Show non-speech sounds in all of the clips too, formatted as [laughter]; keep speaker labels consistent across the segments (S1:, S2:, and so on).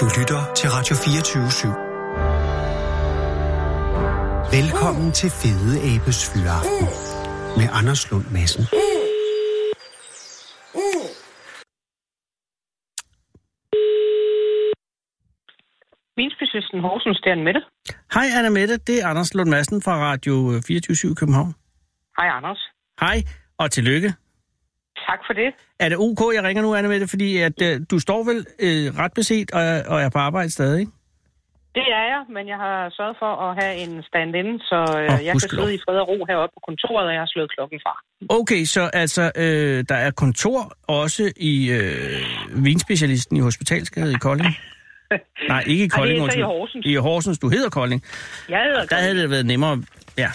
S1: Du lytter til Radio 24 /7. Velkommen til Fede Abes Fyraften med Anders Lund Madsen.
S2: Vinspecialisten Horsens, det er Anne Mette.
S3: Hej Anna Mette, det er Anders Lund Madsen fra Radio 24 København.
S2: Hej Anders.
S3: Hej, og tillykke.
S2: Tak for det.
S3: Er det ok, jeg ringer nu, Anna Mette, fordi at, øh, du står vel øh, ret beset og, og er på arbejde stadig? ikke?
S2: Det er jeg, men jeg har sørget for at have en stand-in, så øh,
S3: Åh,
S2: oh, jeg kan
S3: gudskelov.
S2: sidde i fred og ro heroppe på kontoret, og jeg har slået klokken fra.
S3: Okay, så altså, øh, der er kontor også i øh, vinspecialisten i Hospitalsgade i Kolding? Nej, ikke i
S2: Ej, det
S3: Kolding,
S2: er så i
S3: undskyld.
S2: Horsens.
S3: I Horsens, du hedder Kolding.
S2: Jeg, hedder
S3: Der havde det været nemmere, ja.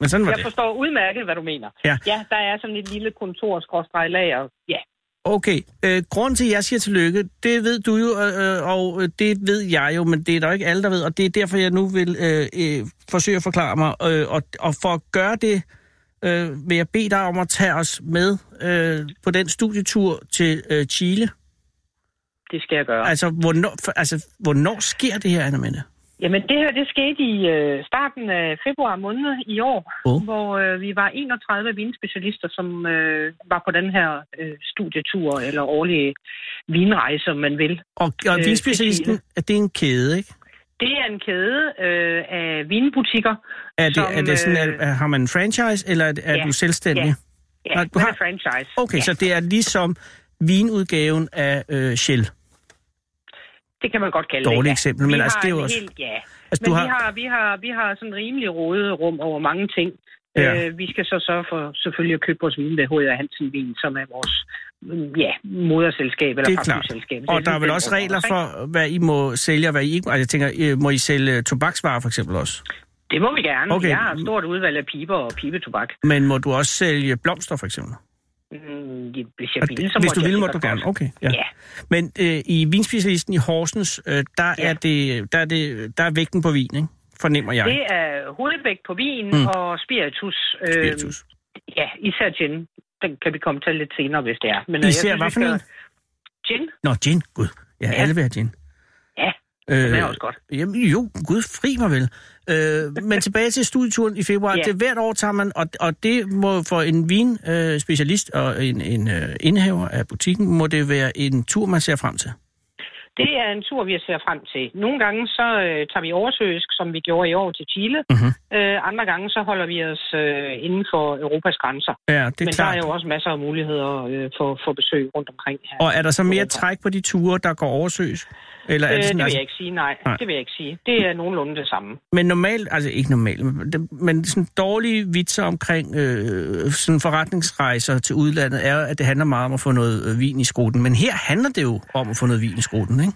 S3: Men sådan var
S2: jeg
S3: det.
S2: forstår udmærket, hvad du mener.
S3: Ja.
S2: ja der er sådan et lille kontor-lager. Ja,
S3: Okay, øh, grunden til, at jeg siger tillykke, det ved du jo, øh, øh, og øh, det ved jeg jo, men det er der jo ikke alle, der ved, og det er derfor, jeg nu vil øh, øh, forsøge at forklare mig. Øh, og, og for at gøre det, øh, vil jeg bede dig om at tage os med øh, på den studietur til øh, Chile.
S2: det skal jeg gøre.
S3: Altså, hvornår, for, altså, hvornår sker det her, Anna Mette?
S2: Jamen, det her det skete i øh, starten af februar måned i år,
S3: Åh.
S2: oh. hvor øh, vi var 31 vinspecialister, som øh, var på den her øh, studietur, eller årlige vinrejse, som man vil.
S3: Og, og
S2: Øh,
S3: øh, vinspecialisten,
S2: Chile.
S3: er det en kæde, ikke?
S2: Det er en kæde øh, af vinbutikker.
S3: Er det,
S2: Som,
S3: er det sådan,
S2: øh,
S3: er, har man en franchise, eller er, er
S2: ja,
S3: du selvstændig?
S2: ja. Ja,
S3: Nå,
S2: Nå,
S3: du
S2: med
S3: har-
S2: har... franchise.
S3: Okay,
S2: ja,
S3: så det er ligesom vinudgaven af øh, Shell.
S2: det kan man godt kalde det.
S3: Dårligt
S2: ja.
S3: eksempel, men
S2: Vi
S3: altså,
S2: har
S3: det er jo
S2: en
S3: også-
S2: Helt, ja,
S3: Altså,
S2: Men
S3: du
S2: vi,
S3: har,
S2: har, vi, har, vi har sådan rimelig råderum over mange ting.
S3: Ja.
S2: Ja. Øh, vi skal så sørge for selvfølgelig at købe vores vin ved H.A. Hansen Vin, som er vores mm, ja, moderselskab
S3: Det
S2: eller
S3: er klart.
S2: paraplyselskab.
S3: og der er vel også regler for, hvad I må sælge, og hvad I ikke må. Altså, jeg tænker, øh, må I sælge øh, tobaksvarer for eksempel også?
S2: Det må vi gerne.
S3: Okay.
S2: Okay. Jeg har et stort udvalg af piber og pibetobak.
S3: Men må du også sælge blomster for eksempel?
S2: Mm, Hvis jeg
S3: Og
S2: ville,
S3: det-
S2: så
S3: Hvis
S2: måtte
S3: du
S2: jeg
S3: vil, må du
S2: sikkert
S3: gerne.
S2: godt.
S3: Okay, ja.
S2: Ja.
S3: Men øh, i vinspecialisten i Horsens, øh, der,
S2: Ja.
S3: er det, der, er det, der er vægten på vin, ikke? fornemmer jeg.
S2: Det er hovedvægt på vin
S3: Mm.
S2: mm. og spiritus. Øh,
S3: Spiritus.
S2: Ja, især gin. Den kan vi komme til lidt senere, hvis det er. Men øh,
S3: Især
S2: jeg synes,
S3: hvad
S2: vi
S3: for
S2: skal-
S3: en?
S2: Gin.
S3: Nå, gin. Gud. Ja, ja.
S2: Ja.
S3: alle vil have gin.
S2: Ja,
S3: øh,
S2: det er også godt.
S3: Jamen jo, gud fri mig vel. Øh, men tilbage til studieturen i februar.
S2: Ja.
S3: Det hvert år tager man, og, og det må for en vinspecialist øh, specialist og en, en øh, indhaver af butikken, må det være en tur, man ser frem til.
S2: Det er en tur, vi ser frem til. Nogle gange så øh, tager vi oversøisk, som vi gjorde i år til Chile.
S3: Mhm.
S2: Øh, andre gange så holder vi os øh, inden for Europas grænser.
S3: Ja, det er
S2: Men der
S3: klart.
S2: er jo også masser af muligheder øh, for, for besøg rundt omkring her.
S3: Og er der så mere
S2: Europa.
S3: træk på de ture, der går oversøs? Eller er
S2: øh,
S3: det
S2: det
S3: sådan,
S2: vil
S3: altså,
S2: jeg ikke sige, nej.
S3: Nej.
S2: Det vil jeg ikke sige. Det er nogenlunde det samme.
S3: Men normalt, altså ikke normalt, men det- men sådan dårlige vitser omkring øh, sådan forretningsrejser til udlandet er, at det handler meget om at få noget øh, vin i skroten. Men her handler det jo om at få noget vin i skroten, ikke?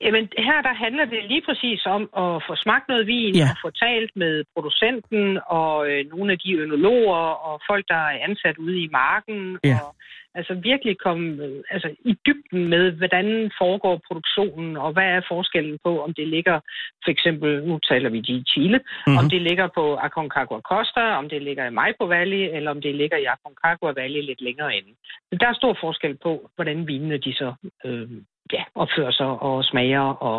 S2: Jamen, her der handler det lige præcis om at få smagt noget vin,
S3: Ja.
S2: ja. og få talt med producenten og øh, nogle af de ønologer og folk, der er ansat ude i marken.
S3: Ja.
S2: Og, altså virkelig komme øh, altså, i dybden med, hvordan foregår produktionen, og hvad er forskellen på, om det ligger, for eksempel, nu taler vi i Chile, mm-hmm.
S3: Mhm.
S2: om det ligger på Aconcagua Costa, om det ligger i Maipo Valley, eller om det ligger i Aconcagua Valley lidt længere inde. Så der er stor forskel på, hvordan vinene de så øh, ja, opfører sig og smager og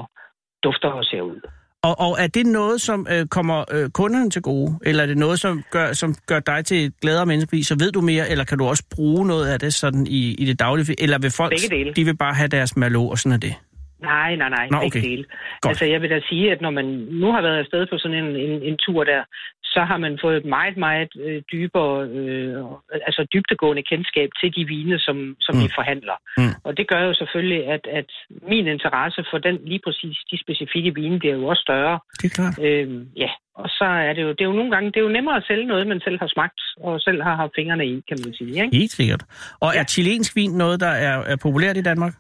S2: dufter og ser ud.
S3: Og, og er det noget, som øh, kommer øh, kunderne til gode? Eller er det noget, som gør, som gør dig til et gladere menneske? Fordi så ved du mere, eller kan du også bruge noget af det sådan i, i det daglige? Eller vil folk,
S2: Begge dele.
S3: de vil bare have deres malo, og sådan er det?
S2: Nej, nej, nej.
S3: Nå,
S2: begge
S3: okay.
S2: Dele.
S3: Godt.
S2: Altså, jeg vil da sige, at når man nu har været afsted på sådan en, en, en tur der, så har man fået et meget, meget øh, dybere, øh, altså dybtegående kendskab til de vine, som, som mm. vi forhandler.
S3: Mm.
S2: Og det gør jo selvfølgelig, at, at min interesse for den lige præcis de specifikke vine bliver jo også større.
S3: Det er klart.
S2: Øhm, ja, og så er det jo, det er jo nogle gange, det er jo nemmere at sælge noget, man selv har smagt og selv har haft fingrene i, kan man sige. Ikke?
S3: Helt sikkert. Og ja. er
S2: Ja.
S3: chilensk vin noget, der er, er populært i Danmark?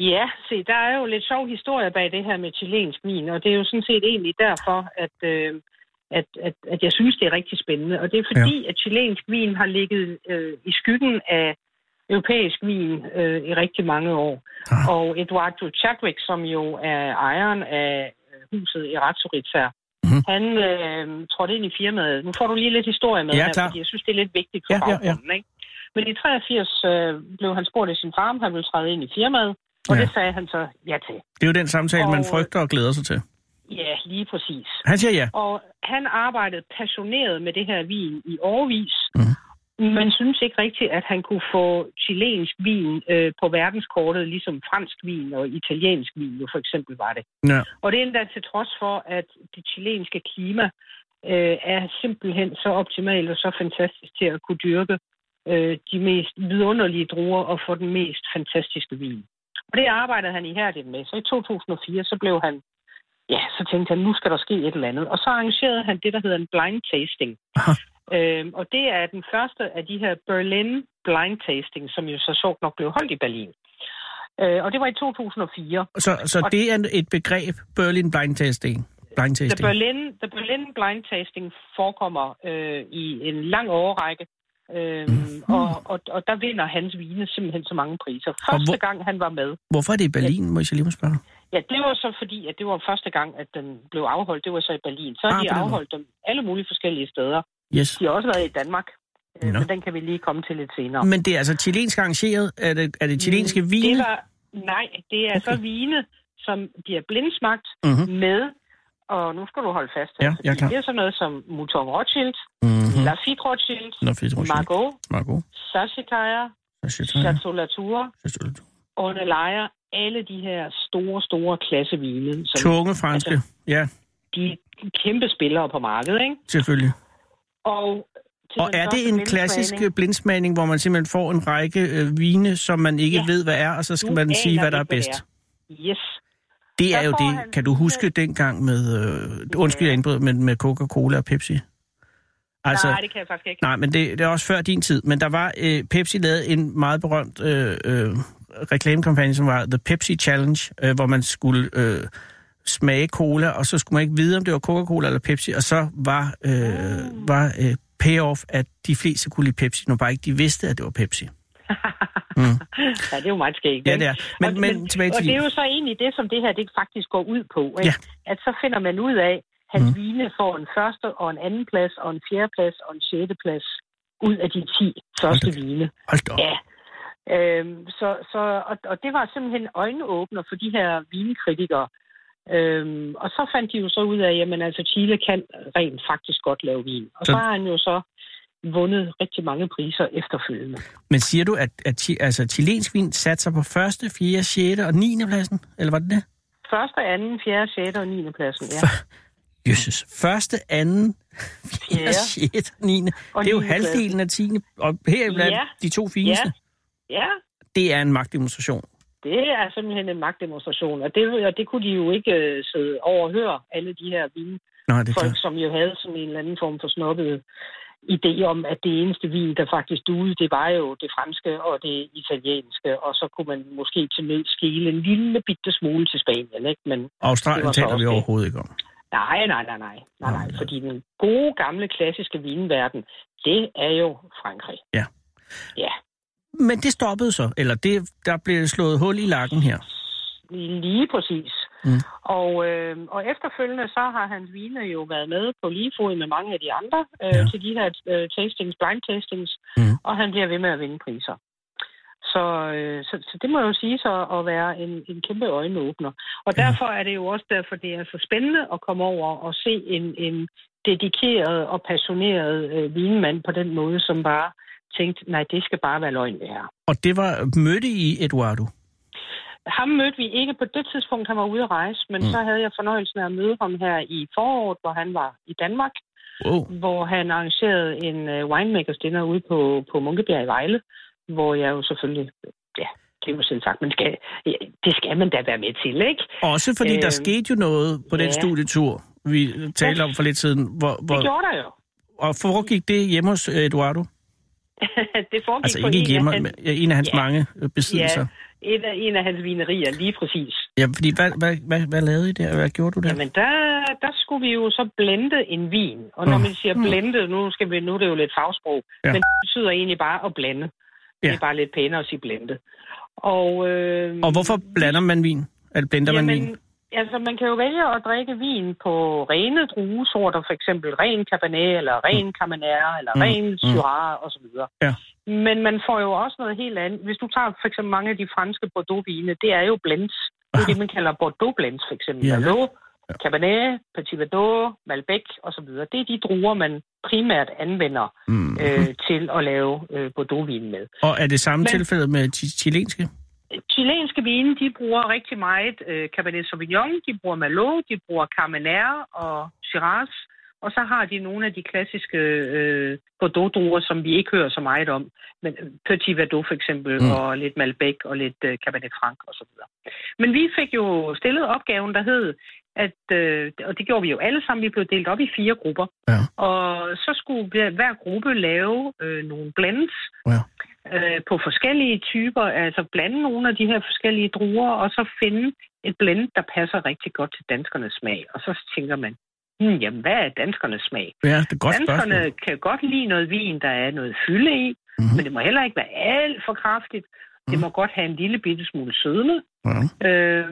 S2: Ja, se, der er jo lidt sjov historie bag det her med chilensk vin, og det er jo sådan set egentlig derfor, at, øh, at, at, at jeg synes, det er rigtig spændende. Og det er fordi, ja. at chilensk vin har ligget øh, i skyggen af europæisk vin øh, i rigtig mange år.
S3: Ah.
S2: Og Eduardo Chadwick, som jo er ejeren af øh, huset i Ratsuritsa,
S3: Mhm.
S2: mm-hmm. han øh, trådte ind i firmaet. Nu får du lige lidt historie med
S3: Ja,
S2: her,
S3: klar.
S2: fordi jeg synes, det er lidt vigtigt for
S3: Ja,
S2: ja,
S3: ja, ja.
S2: baggrunden. Ja, ja. Ikke? Men i 83 øh, blev han spurgt af sin far, om han ville træde ind i firmaet, Og
S3: Ja.
S2: ja. det sagde han så ja til.
S3: Det er jo den samtale, man
S2: Og-
S3: frygter og glæder sig til.
S2: Ja, lige præcis.
S3: Han siger ja.
S2: Og han arbejdede passioneret med det her vin i årevis, mm. men synes ikke rigtigt, at han kunne få chilensk vin øh, på verdenskortet, ligesom fransk vin og italiensk vin jo for eksempel var det.
S3: ja.
S2: Og det er endda til trods for, at det chilenske klima øh, er simpelthen så optimalt og så fantastisk til at kunne dyrke øh, de mest vidunderlige druer og få den mest fantastiske vin. Og det arbejdede han ihærdigt med. Så i 2004, så blev han, ja, så tænkte han, nu skal der ske et eller andet. Og så arrangerede han det, der hedder en blind tasting.
S3: Aha.
S2: Øhm, og det er den første af de her Berlin blind tasting, som jo så sjovt nok blev holdt i Berlin. Øh, og det var i 2004.
S3: Så, så
S2: Og-
S3: det er et begreb, Berlin blind tasting. Blind
S2: The
S3: tasting.
S2: Berlin, the Berlin blind tasting forekommer øh, i en lang årrække, øh,
S3: Mhm.
S2: og, og, og der vinder hans vine simpelthen så mange priser. Første
S3: hvor-
S2: gang han var med,
S3: Hvorfor er det i Berlin, må jeg så lige må spørge?
S2: ja, det var så fordi, at det var første gang, at den blev afholdt, det var så i Berlin. Så har
S3: Ah,
S2: ah, de
S3: på den måde.
S2: afholdt dem alle mulige forskellige steder.
S3: Yes.
S2: De har også været i Danmark, øh,
S3: Nå.
S2: men den kan vi lige komme til lidt senere.
S3: Men det er altså chilensk arrangeret? Er det, er det chilenske
S2: Mm,
S3: vine?
S2: Det var, nej, det er okay. så vine, som bliver blindsmagt
S3: Mhm.
S2: med, og nu skal du holde fast her,
S3: Ja, jeg er
S2: fordi
S3: klar.
S2: det er sådan noget som Mouton Rothschild,
S3: Mhm.
S2: Lafitte Rothschild,
S3: Nå, fedt, Rochelle.
S2: Margot,
S3: Margot.
S2: Sachikaya,
S3: Rochelle.
S2: Chateau Latour,
S3: Rochelle.
S2: Ornelaya, alle de her store, store klassevine, som
S3: Tunge franske. Ja,
S2: de er kæmpe spillere på markedet, ikke?
S3: selvfølgelig.
S2: Og, til
S3: Og
S2: den
S3: er det
S2: første
S3: en
S2: blindsmagning-
S3: klassisk øh, blindsmagning, hvor man simpelthen får en række øh, vine, som man ikke
S2: Ja.
S3: ved, hvad er, og så skal
S2: Du
S3: man
S2: aner
S3: sige, hvad der er
S2: ikke, hvad det
S3: bedst?
S2: Yes.
S3: Det
S2: Der
S3: er jo
S2: får
S3: det.
S2: han
S3: Kan du
S2: vine-
S3: huske dengang med, øh, undskyld, jeg indbrød, men med Coca-Cola og Pepsi?
S2: Altså, nej, det kan jeg faktisk ikke.
S3: Nej, men det, det er også før din tid. Men der var, øh, Pepsi lavede en meget berømt øh, øh, reklamekampagne, som var The Pepsi Challenge, øh, hvor man skulle øh, smage cola, og så skulle man ikke vide, om det var Coca-Cola eller Pepsi, og så var, øh,
S2: Mm.
S3: var øh, payoff, at de fleste kunne lide Pepsi, når bare ikke de vidste, at det var Pepsi.
S2: Ja, det er jo meget skægt.
S3: Ja,
S2: ikke?
S3: det er. Men-
S2: og,
S3: men tilbage til
S2: og det er
S3: vinen.
S2: jo så egentlig det, som det her det faktisk går ud på. Ikke?
S3: Ja. Mhm.
S2: At så finder man ud af, at mm. Vine får en første og en anden plads, og en fjerde plads og en sjette plads ud af de 10 første
S3: Hold
S2: vine.
S3: Hold da op.
S2: Ja. Øhm, så, så, og, og det var simpelthen øjenåbner for de her vinkritikere. Øhm, og så fandt de jo så ud af, at altså, Chile kan rent faktisk godt lave vin. Og så,
S3: Så-
S2: så har han jo så vundet rigtig mange priser efterfølgende.
S3: Men siger du, at, at chi, altså, chilensk vin satte sig på første, fjerde, sjette og 9. pladsen? Eller var det det?
S2: Første, anden, fjerde, sjette og 9. pladsen. Ja.
S3: Jøsses. Første, anden, fjerde,
S2: Ja.
S3: sjette, niende.
S2: Og
S3: Det er jo
S2: niende klasse.
S3: halvdelen af tiende, og her blandt
S2: Ja.
S3: de to fineste.
S2: Ja. Ja,
S3: Det er en magtdemonstration.
S2: det er simpelthen en magtdemonstration, og det, og det kunne de jo ikke øh, sidde overhøre, alle de her vinfolk,
S3: Nå, det er klart.
S2: som jo havde sådan en eller anden form for snobbet idé om, at det eneste vin, der faktisk duede, det var jo det franske og det italienske, og så kunne man måske til nød skele en lille bitte smule til Spanien, ikke? Men Det
S3: Australien
S2: var så
S3: taler
S2: også
S3: vi
S2: det.
S3: overhovedet ikke om.
S2: nej, nej, nej, nej, nej, nej,
S3: Nej.
S2: fordi den gode, gamle, klassiske vinverden, det er jo Frankrig.
S3: Ja.
S2: Ja,
S3: Men det stoppede så, eller det, der blev slået hul i lakken her.
S2: Lige præcis.
S3: Mm.
S2: Mm. Og, øh, og efterfølgende så har hans vine jo været med på lige fod med mange af de andre øh,
S3: Ja.
S2: ja. til de her øh, tastings, blind tastings,
S3: Mm.
S2: mm. og han bliver ved med at vinde priser. Så, øh, så, så det må jo sige så at være en, en kæmpe øjenåbner. Og
S3: Ja.
S2: ja. derfor er det jo også derfor, det er så spændende at komme over og se en, en dedikeret og passioneret øh, vinmand på den måde, som bare tænkte, nej, det skal bare være løgn, det her.
S3: Og det var mødte i Eduardo.
S2: Ham mødte vi ikke på det tidspunkt, han var ude at rejse, men
S3: Mm.
S2: mm. så havde jeg fornøjelsen af at møde ham her i foråret, hvor han var i Danmark,
S3: Wow.
S2: hvor han arrangerede en uh, winemakers dinner ude på, på Munkebjerg i Vejle, hvor jeg jo selvfølgelig, ja, det er jo selv sagt, man skal, ja, det skal man da være med til, ikke?
S3: Også fordi øh, der
S2: Øhm,
S3: skete jo noget på den
S2: ja.
S3: studietur, vi talte om for lidt siden. Hvor,
S2: Det
S3: hvor,
S2: gjorde der jo. [laughs]
S3: og foregik det hjemme hos øh, Eduardo?
S2: det foregik
S3: Altså
S2: på en
S3: ikke hjemme,
S2: af hans,
S3: men ja, en af hans
S2: Ja.
S3: mange øh, besiddelser.
S2: ja, et af, en af hans vinerier, lige præcis.
S3: Ja, fordi hvad, hvad, hvad, hvad lavede I der? Hvad gjorde du der?
S2: Jamen, der, der skulle vi jo så blende en vin. Og når
S3: Mm.
S2: man siger blende, nu, skal vi, nu er det jo lidt fagsprog,
S3: Ja.
S2: ja. men det betyder egentlig bare at blande. Ja.
S3: Ja.
S2: Det er bare lidt pænere at sige blende. Og, øh,
S3: Og hvorfor blander man vin? Eller blender man vin?
S2: Altså, man kan jo vælge at drikke vin på rene druesorter, for eksempel ren Cabernet, eller ren Carmenère, eller
S3: Mm.
S2: ren Syrah, osv.
S3: Ja.
S2: Men man får jo også noget helt andet. Hvis du tager for eksempel mange af de franske Bordeaux-vine, det er jo blends. Det er det, man kalder Bordeaux-blends, for eksempel.
S3: Ja.
S2: Ja. Merlot, Cabernet, Petit Verdot, Malbec osv. Det er de druer, man primært anvender
S3: Mm.
S2: øh, til at lave øh, Bordeaux-vin med.
S3: Og er det samme Men...
S2: Men-
S3: tilfælde med de chilenske?
S2: Chilenske vine, de bruger rigtig meget øh, Cabernet Sauvignon, de bruger Merlot, de bruger Carmenère og Shiraz, og så har de nogle af de klassiske øh, Bordeaux-druer, som vi ikke hører så meget om. Men øh, Petit Verdot for eksempel,
S3: Mm.
S2: mm. og lidt Malbec og lidt øh, Cabernet Franc osv. Men vi fik jo stillet opgaven, der hed, at, øh, og det gjorde vi jo alle sammen, vi blev delt op i fire grupper.
S3: Ja.
S2: Og så skulle hver, hver gruppe lave øh, nogle blends, øh, på forskellige typer, altså blande nogle af de her forskellige druer, og så finde et blend, der passer rigtig godt til danskernes smag. Og så tænker man, hmm, jamen hvad er danskernes smag?
S3: Ja, det er et godt
S2: Danskerne
S3: spørgsmål.
S2: kan godt lide noget vin, der er noget fylde i,
S3: Mhm.
S2: mm-hmm. men det må heller ikke være alt for kraftigt. Det må godt have en lille bitte smule sødme,
S3: Ja.
S2: øh,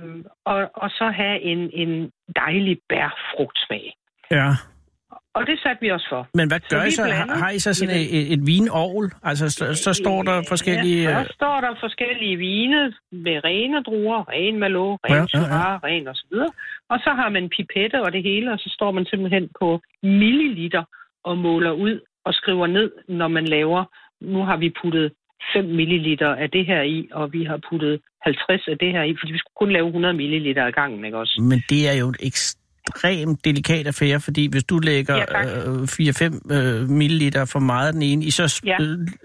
S2: og, og så have en, en dejlig bærfrugtsmag.
S3: ja.
S2: Og det satte vi os for.
S3: Men hvad
S2: Så
S3: gør I
S2: vi
S3: så? Har,
S2: blander
S3: har I så sådan
S2: i
S3: et, et, et vinovl? Altså, så, så står der forskellige...
S2: Øh,
S3: øh,
S2: Ja,
S3: Ja,
S2: så står der forskellige vine med rene druer, ren malo, ren
S3: Ja,
S2: ja,
S3: ja,
S2: ja,
S3: ja.
S2: ren og så videre. Og så har man pipette og det hele, og så står man simpelthen på milliliter og måler ud og skriver ned, når man laver, nu har vi puttet 5 milliliter af det her i, og vi har puttet 50 af det her i, fordi vi skulle kun lave 100 milliliter ad gangen, ikke også?
S3: Men det er jo en ekstremt delikat affære, fordi hvis du lægger
S2: Ja, tak.
S3: ja, øh, 4-5 øh, milliliter for meget af den ene, i så ja.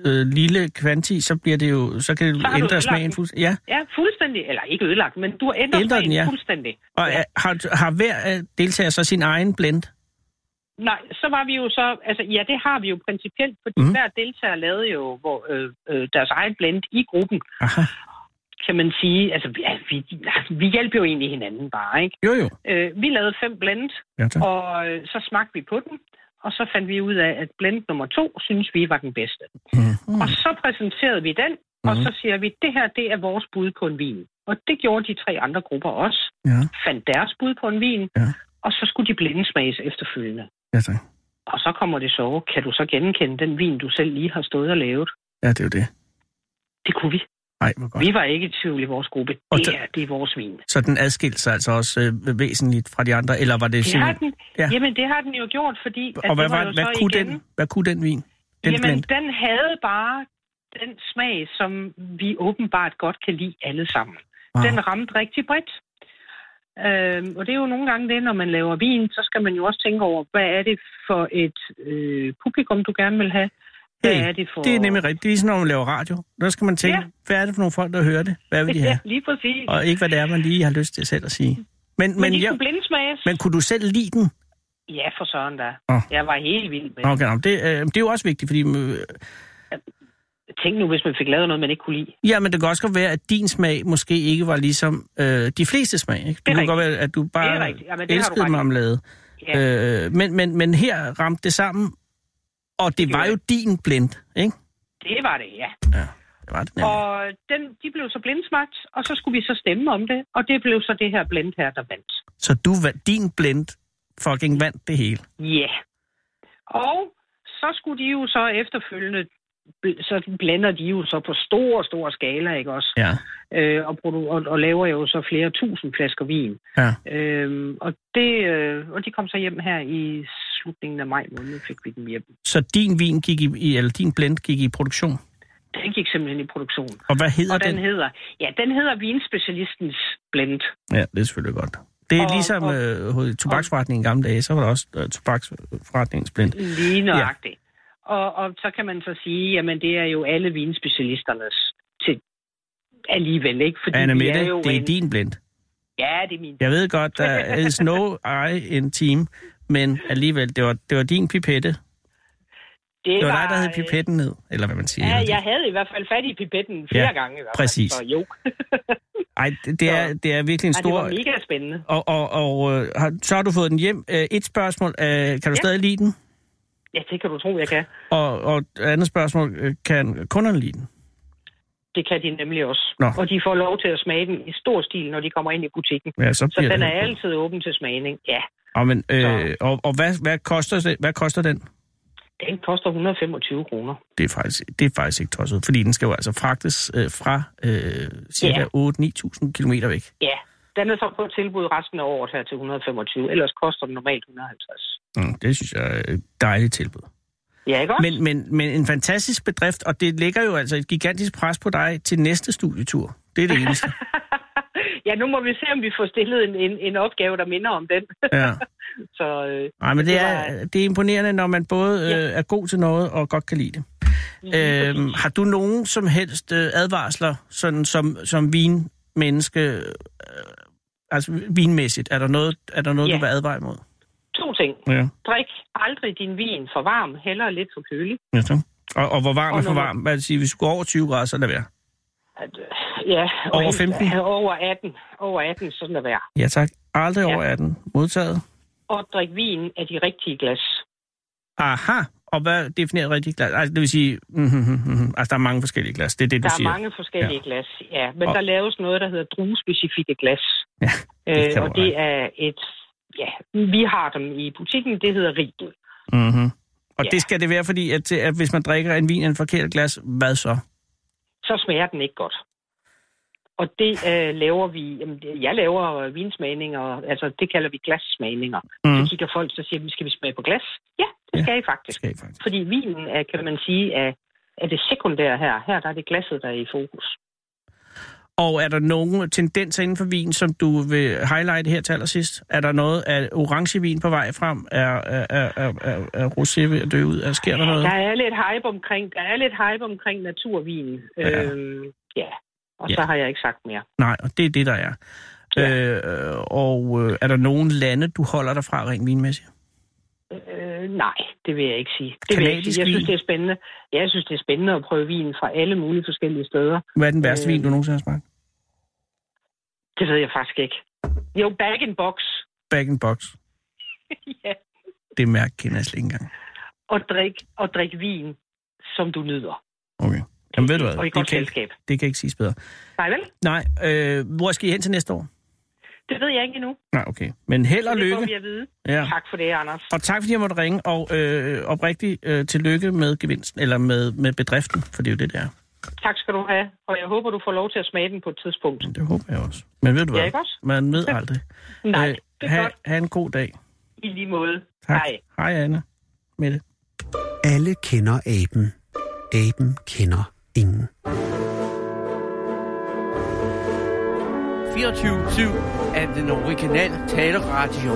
S2: Ja.
S3: øh, lille kvanti, så bliver det jo, så kan det
S2: Så har du
S3: ændre
S2: ødelagt
S3: smagen
S2: den.
S3: fuldstændig. Ja,
S2: Ja, fuldstændig, eller ikke ødelagt, men du ændrer,
S3: Ændrer den,
S2: smagen
S3: ja.
S2: fuldstændig.
S3: og
S2: Ja.
S3: ja. Har, har hver af deltager så sin egen blend?
S2: Nej, så var vi jo så, altså ja, det har vi jo principielt, fordi
S3: Mhm.
S2: mm. hver deltager lavede jo hvor, øh, øh, deres egen blend i gruppen,
S3: Aha.
S2: kan man sige. Altså vi, ja, vi, vi hjalp jo egentlig hinanden bare, ikke?
S3: Jo, jo.
S2: Øh, vi lavede fem blend,
S3: Ja, tak.
S2: og øh, så smagte vi på den, og så fandt vi ud af, at blend nummer to, synes vi var den bedste.
S3: Mhm.
S2: Og så præsenterede vi den, og
S3: Mhm.
S2: så siger vi, det her, det er vores bud på en vin. Og det gjorde de tre andre grupper også.
S3: Ja.
S2: Fandt deres bud på en vin,
S3: Ja.
S2: og så skulle de blindesmages efterfølgende.
S3: Ja, tak.
S2: Og så kommer det så, kan du så genkende den vin, du selv lige har stået og lavet?
S3: Ja, det er jo det.
S2: Det kunne vi.
S3: Ej, hvor godt.
S2: Vi var ikke i tvivl i vores gruppe.
S3: Og
S2: Det
S3: der-
S2: her, det er vores vin.
S3: Så den adskilte sig altså også øh, væsentligt fra de andre, eller var det
S2: Det har
S3: simpelthen...
S2: den,
S3: Ja.
S2: ja. Jamen, det har den jo gjort, fordi... at
S3: Og hvad,
S2: det var
S3: var,
S2: jo
S3: hvad,
S2: så
S3: kunne
S2: igen,
S3: den, hvad kunne den vin? Den
S2: jamen,
S3: blend?
S2: den havde bare den smag, som vi åbenbart godt kan lide alle sammen.
S3: Wow.
S2: Den ramte rigtig bredt. Øhm, og det er jo nogle gange det, når man laver vin, så skal man jo også tænke over, hvad er det for et øh, publikum, du gerne vil have? Hvad
S3: Hey,
S2: er det for...
S3: Det er nemlig rigtigt. Det er sådan, når man laver radio. Der skal man tænke, ja.
S2: Ja.
S3: hvad er det for nogle folk, der hører det? Hvad vil de
S2: Ja,
S3: have?
S2: lige præcis.
S3: Og ikke, hvad det er, man lige har lyst til selv at sige. Men,
S2: Men,
S3: men,
S2: de
S3: ja,
S2: kunne blindesmages.
S3: men kunne du selv lide den?
S2: Ja, for søren da.
S3: Åh.
S2: Jeg var helt vild med
S3: Nå,
S2: det.
S3: Okay, nå, det, øh, det er jo også vigtigt, fordi... Øh,
S2: Tænk nu, hvis man fik lavet noget, man ikke kunne lide.
S3: ja, men det kan også godt være, at din smag måske ikke var ligesom øh, de fleste smag. Ikke? Det
S2: er
S3: kan godt
S2: rigtigt.
S3: være, at du
S2: Det er
S3: bare
S2: rigtigt. Jamen, det har du ret
S3: elskede
S2: i.
S3: marmelade.
S2: Ja.
S3: Øh, men, men, men her ramte det sammen, og det var
S2: gjorde
S3: jo din blend, ikke?
S2: Det var det, ja.
S3: Det var det
S2: ja.
S3: nemlig.
S2: Og den, de blev så blindsmagt, og så skulle vi så stemme om det, og det blev så det her blend her, der vandt.
S3: Så du, vandt- din blend fucking vandt det hele.
S2: Ja. Og så skulle de jo så efterfølgende, bl- så blander de jo så på stor, stor skala, ikke også?
S3: Ja.
S2: Øh, og, produ- og, og laver jo så flere tusind flasker vin.
S3: Ja.
S2: Øhm, og, det, øh, og de kom så hjem her i slutningen af maj måned, fik vi dem hjem.
S3: Så din vin gik i- i, eller din blend gik i produktion.
S2: Den gik simpelthen i produktion.
S3: Og hvad hedder
S2: Og den,
S3: den?
S2: den hedder, ja, den hedder Vinspecialistens Blend.
S3: Ja, det er selvfølgelig godt. Det er og,
S2: Og-
S3: ligesom
S2: og-
S3: øh, hos tobaksforretningen i gamle dage, så var der også øh, tobaksforretningens blend.
S2: Lige nøjagtigt. Ja. Og, og så kan man så sige, jamen det er jo alle vinspecialisternes til alligevel, ikke? Fordi
S3: Anna
S2: vi
S3: Mette,
S2: er jo
S3: det er
S2: en,
S3: din blend.
S2: Ja, det er min.
S3: Jeg ved
S2: [laughs]
S3: godt, der er no I in team, men alligevel, det var, det var din pipette. Det var dig, der hed
S2: øh,
S3: pipetten ned, eller hvad man siger.
S2: Ja, jeg havde i hvert fald fat i pipetten flere gange. I hvert fald.
S3: præcis.
S2: Så jo,
S3: Ej, det, det, er, det er virkelig en
S2: Ej, det
S3: stor...
S2: var mega spændende.
S3: og og, og øh, har, så har du fået den hjem. Øh, et spørgsmål, øh, kan du ja.
S2: Ja.
S3: stadig lide den?
S2: Ja, det kan du tro, jeg kan.
S3: Og, og et andet spørgsmål, øh, kan kunderne lide den?
S2: Det kan de nemlig også.
S3: Nå.
S2: Og de får lov til at smage den i stor stil, når de kommer ind i butikken.
S3: Ja, så
S2: Så
S3: bliver
S2: den
S3: det.
S2: er altid åben til smagning. Ja,
S3: Og, men, øh,
S2: Så-
S3: og, og hvad, hvad, koster, det- hvad koster den?
S2: Den koster 125 kroner.
S3: Det er faktisk, det er faktisk ikke tosset, fordi den skal jo altså fragtes øh, fra øh, cirka
S2: Ja.
S3: 8-9.000 km væk.
S2: Ja, den er så på tilbud resten af året her til 125. Ellers koster den normalt 150.
S3: Mm, det synes jeg er et dejligt tilbud.
S2: Ja, ikke også?
S3: Men, men, men en fantastisk bedrift, og det lægger jo altså et gigantisk pres på dig til næste studietur. Det er det
S2: [laughs]
S3: eneste.
S2: [laughs] ja, nu må vi se, om vi får stillet en, en, en opgave, der minder om den. [laughs]
S3: Ja.
S2: Så øh,
S3: Ej, men det
S2: Det
S3: er,
S2: var-
S3: det er imponerende, når man både
S2: Ja.
S3: øh, er god til noget og godt kan lide det. Øhm, har du nogen som helst øh, advarsler, sådan som, som vinmenneske, øh, altså vinmæssigt? Er der noget, er der noget
S2: Ja.
S3: du vil advare imod?
S2: to ting.
S3: Ja.
S2: Drik aldrig din vin for varm, heller lidt for kølig.
S3: ja så. og, og hvor varm
S2: Og
S3: er for
S2: nummer-
S3: varm? Hvad vil sige, hvis du går over 20 grader, så lad være.
S2: At, øh, ja,
S3: Over
S2: og-
S3: 15?
S2: [laughs] Over 18. Over 18, sådan er værd.
S3: Ja tak. Aldrig
S2: Ja.
S3: over 18. Modtaget.
S2: Og drik vin af de rigtige glas.
S3: Aha. Og hvad definerer rigtigt glas? Altså, det vil sige, mm, mm, mm, mm, altså der er mange forskellige glas. Det er det, du
S2: Der er
S3: siger.
S2: mange forskellige ja. glas, ja. Men
S3: Og-
S2: der laves noget, der hedder druespecifikke glas.
S3: Ja, det kan
S2: øh,
S3: du
S2: og det er et... Ja, vi har dem i butikken, det hedder Riegel.
S3: Mm-hmm. Og
S2: Ja.
S3: det skal det være, fordi at, at hvis man drikker en vin af en forkert glas, hvad så?
S2: Så smager den ikke godt. Og det øh, laver vi... Jamen, det- jeg laver øh, vinsmagninger, altså det kalder vi glassmagninger.
S3: Mm.
S2: Så kigger folk, så siger vi, skal vi smage på glas? Ja, det
S3: Ja.
S2: skal I faktisk.
S3: Det skal I faktisk.
S2: Fordi vinen er, kan man sige, er, er det sekundære her. Her der er det glasset, der er i fokus.
S3: Og er der nogen tendenser inden for vin, som du vil highlighte her til allersidst? Er der noget af orangevin på vej frem? Er, er, er, er, er, er rosé ved at dø ud? Er, sker der noget?
S2: Der er lidt hype omkring, der er lidt hype omkring naturvin.
S3: Ja.
S2: Ja. Øhm, ja. Og
S3: Ja.
S2: så har jeg ikke sagt mere.
S3: Nej, og det er det, der er.
S2: Ja.
S3: Øh, og øh, er der nogen lande, du holder dig fra rent vinmæssigt?
S2: Øh, nej, det vil jeg ikke sige. Det vil jeg, ikke sige. jeg
S3: Kanadisk
S2: synes,
S3: vin?
S2: det er spændende. Ja, Jeg synes, det er spændende at prøve vin fra alle mulige forskellige steder.
S3: Hvad er den værste
S2: Øh.
S3: vin, du nogensinde har smagt?
S2: Det ved jeg faktisk ikke. Jo, back in box.
S3: Back in box.
S2: ja.
S3: Det mærke kender jeg slet ikke engang.
S2: Og drik, og drik vin, som du nyder.
S3: Okay. Jamen ved du hvad?
S2: Og i
S3: Det
S2: godt
S3: kan, ikke-
S2: selskab.
S3: det kan ikke siges bedre.
S2: Nej vel?
S3: Nej, øh, hvor skal I hen til næste år?
S2: Det ved jeg ikke endnu.
S3: Nej, okay. Men held og
S2: Det får
S3: lykke.
S2: vi at vide.
S3: Ja.
S2: Tak for det, Anders.
S3: Og tak fordi jeg måtte ringe, og øh, oprigtigt øh, tillykke med gevinsten, eller med, med bedriften, for det er jo det, der.
S2: Tak skal du have, og jeg håber, du får lov til at smage den på et tidspunkt.
S3: Det håber jeg også. Men ved du
S2: Ja,
S3: hvad?
S2: ikke også?
S3: Man ved aldrig.
S2: [laughs] Nej, det er
S3: Øh, ha,
S2: godt.
S3: ha' en god dag.
S2: I lige måde.
S3: Tak.
S2: Hej.
S3: Hej, Anna. Mette.
S1: Alle kender aben. Aben kender ingen.
S4: 24-7 af den originale taleradio.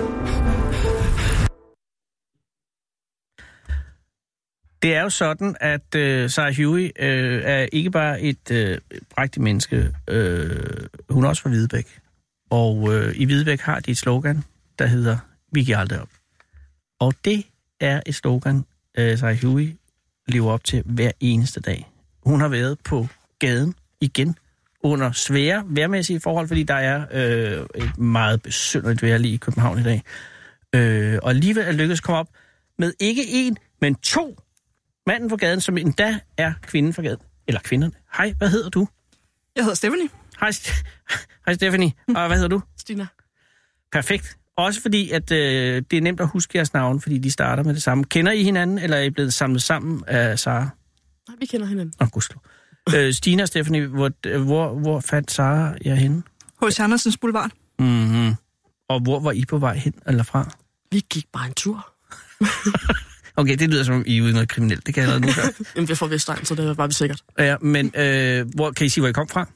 S3: Det er jo sådan, at øh, Sarah Huey øh, er ikke bare et øh, prægtigt menneske. Øh, hun er også fra Hvidebæk. Og øh, i Hvidebæk har de et slogan, der hedder, vi giver aldrig op. Og det er et slogan, øh, Sarah Huey lever op til hver eneste dag. Hun har været på gaden igen under svære vejrmæssige forhold, fordi der er øh, et meget besynderligt vejr lige i København i dag. Øh, og alligevel er lykkedes at komme op med ikke en, men to manden fra gaden, som endda er kvinden fra gaden. Eller kvinderne. Hej, hvad hedder du?
S5: Jeg hedder Stephanie.
S3: Hej, St- [laughs] Hej Stephanie. Og hvad hedder du?
S5: Stina.
S3: Perfekt. Også fordi, at øh, det er nemt at huske jeres navn, fordi de starter med det samme. Kender I hinanden, eller er I blevet samlet sammen af Sara?
S5: Nej, vi kender hinanden.
S3: Nå, gudskelov. Øh, Stina og Stephanie, hvor, øh, hvor, hvor fandt Sara jer henne?
S5: H.C. Andersens Boulevard.
S3: Mm-hmm. Og hvor var I på vej hen eller fra?
S5: Vi gik bare en tur.
S3: Okay, det lyder som om I er ude i noget kriminelt. Det kan jeg allerede nu gøre.
S5: [laughs] Jamen, vi er fra Vestegn, så det var vi sikkert.
S3: ja, men øh, hvor, kan I sige, hvor I kom fra?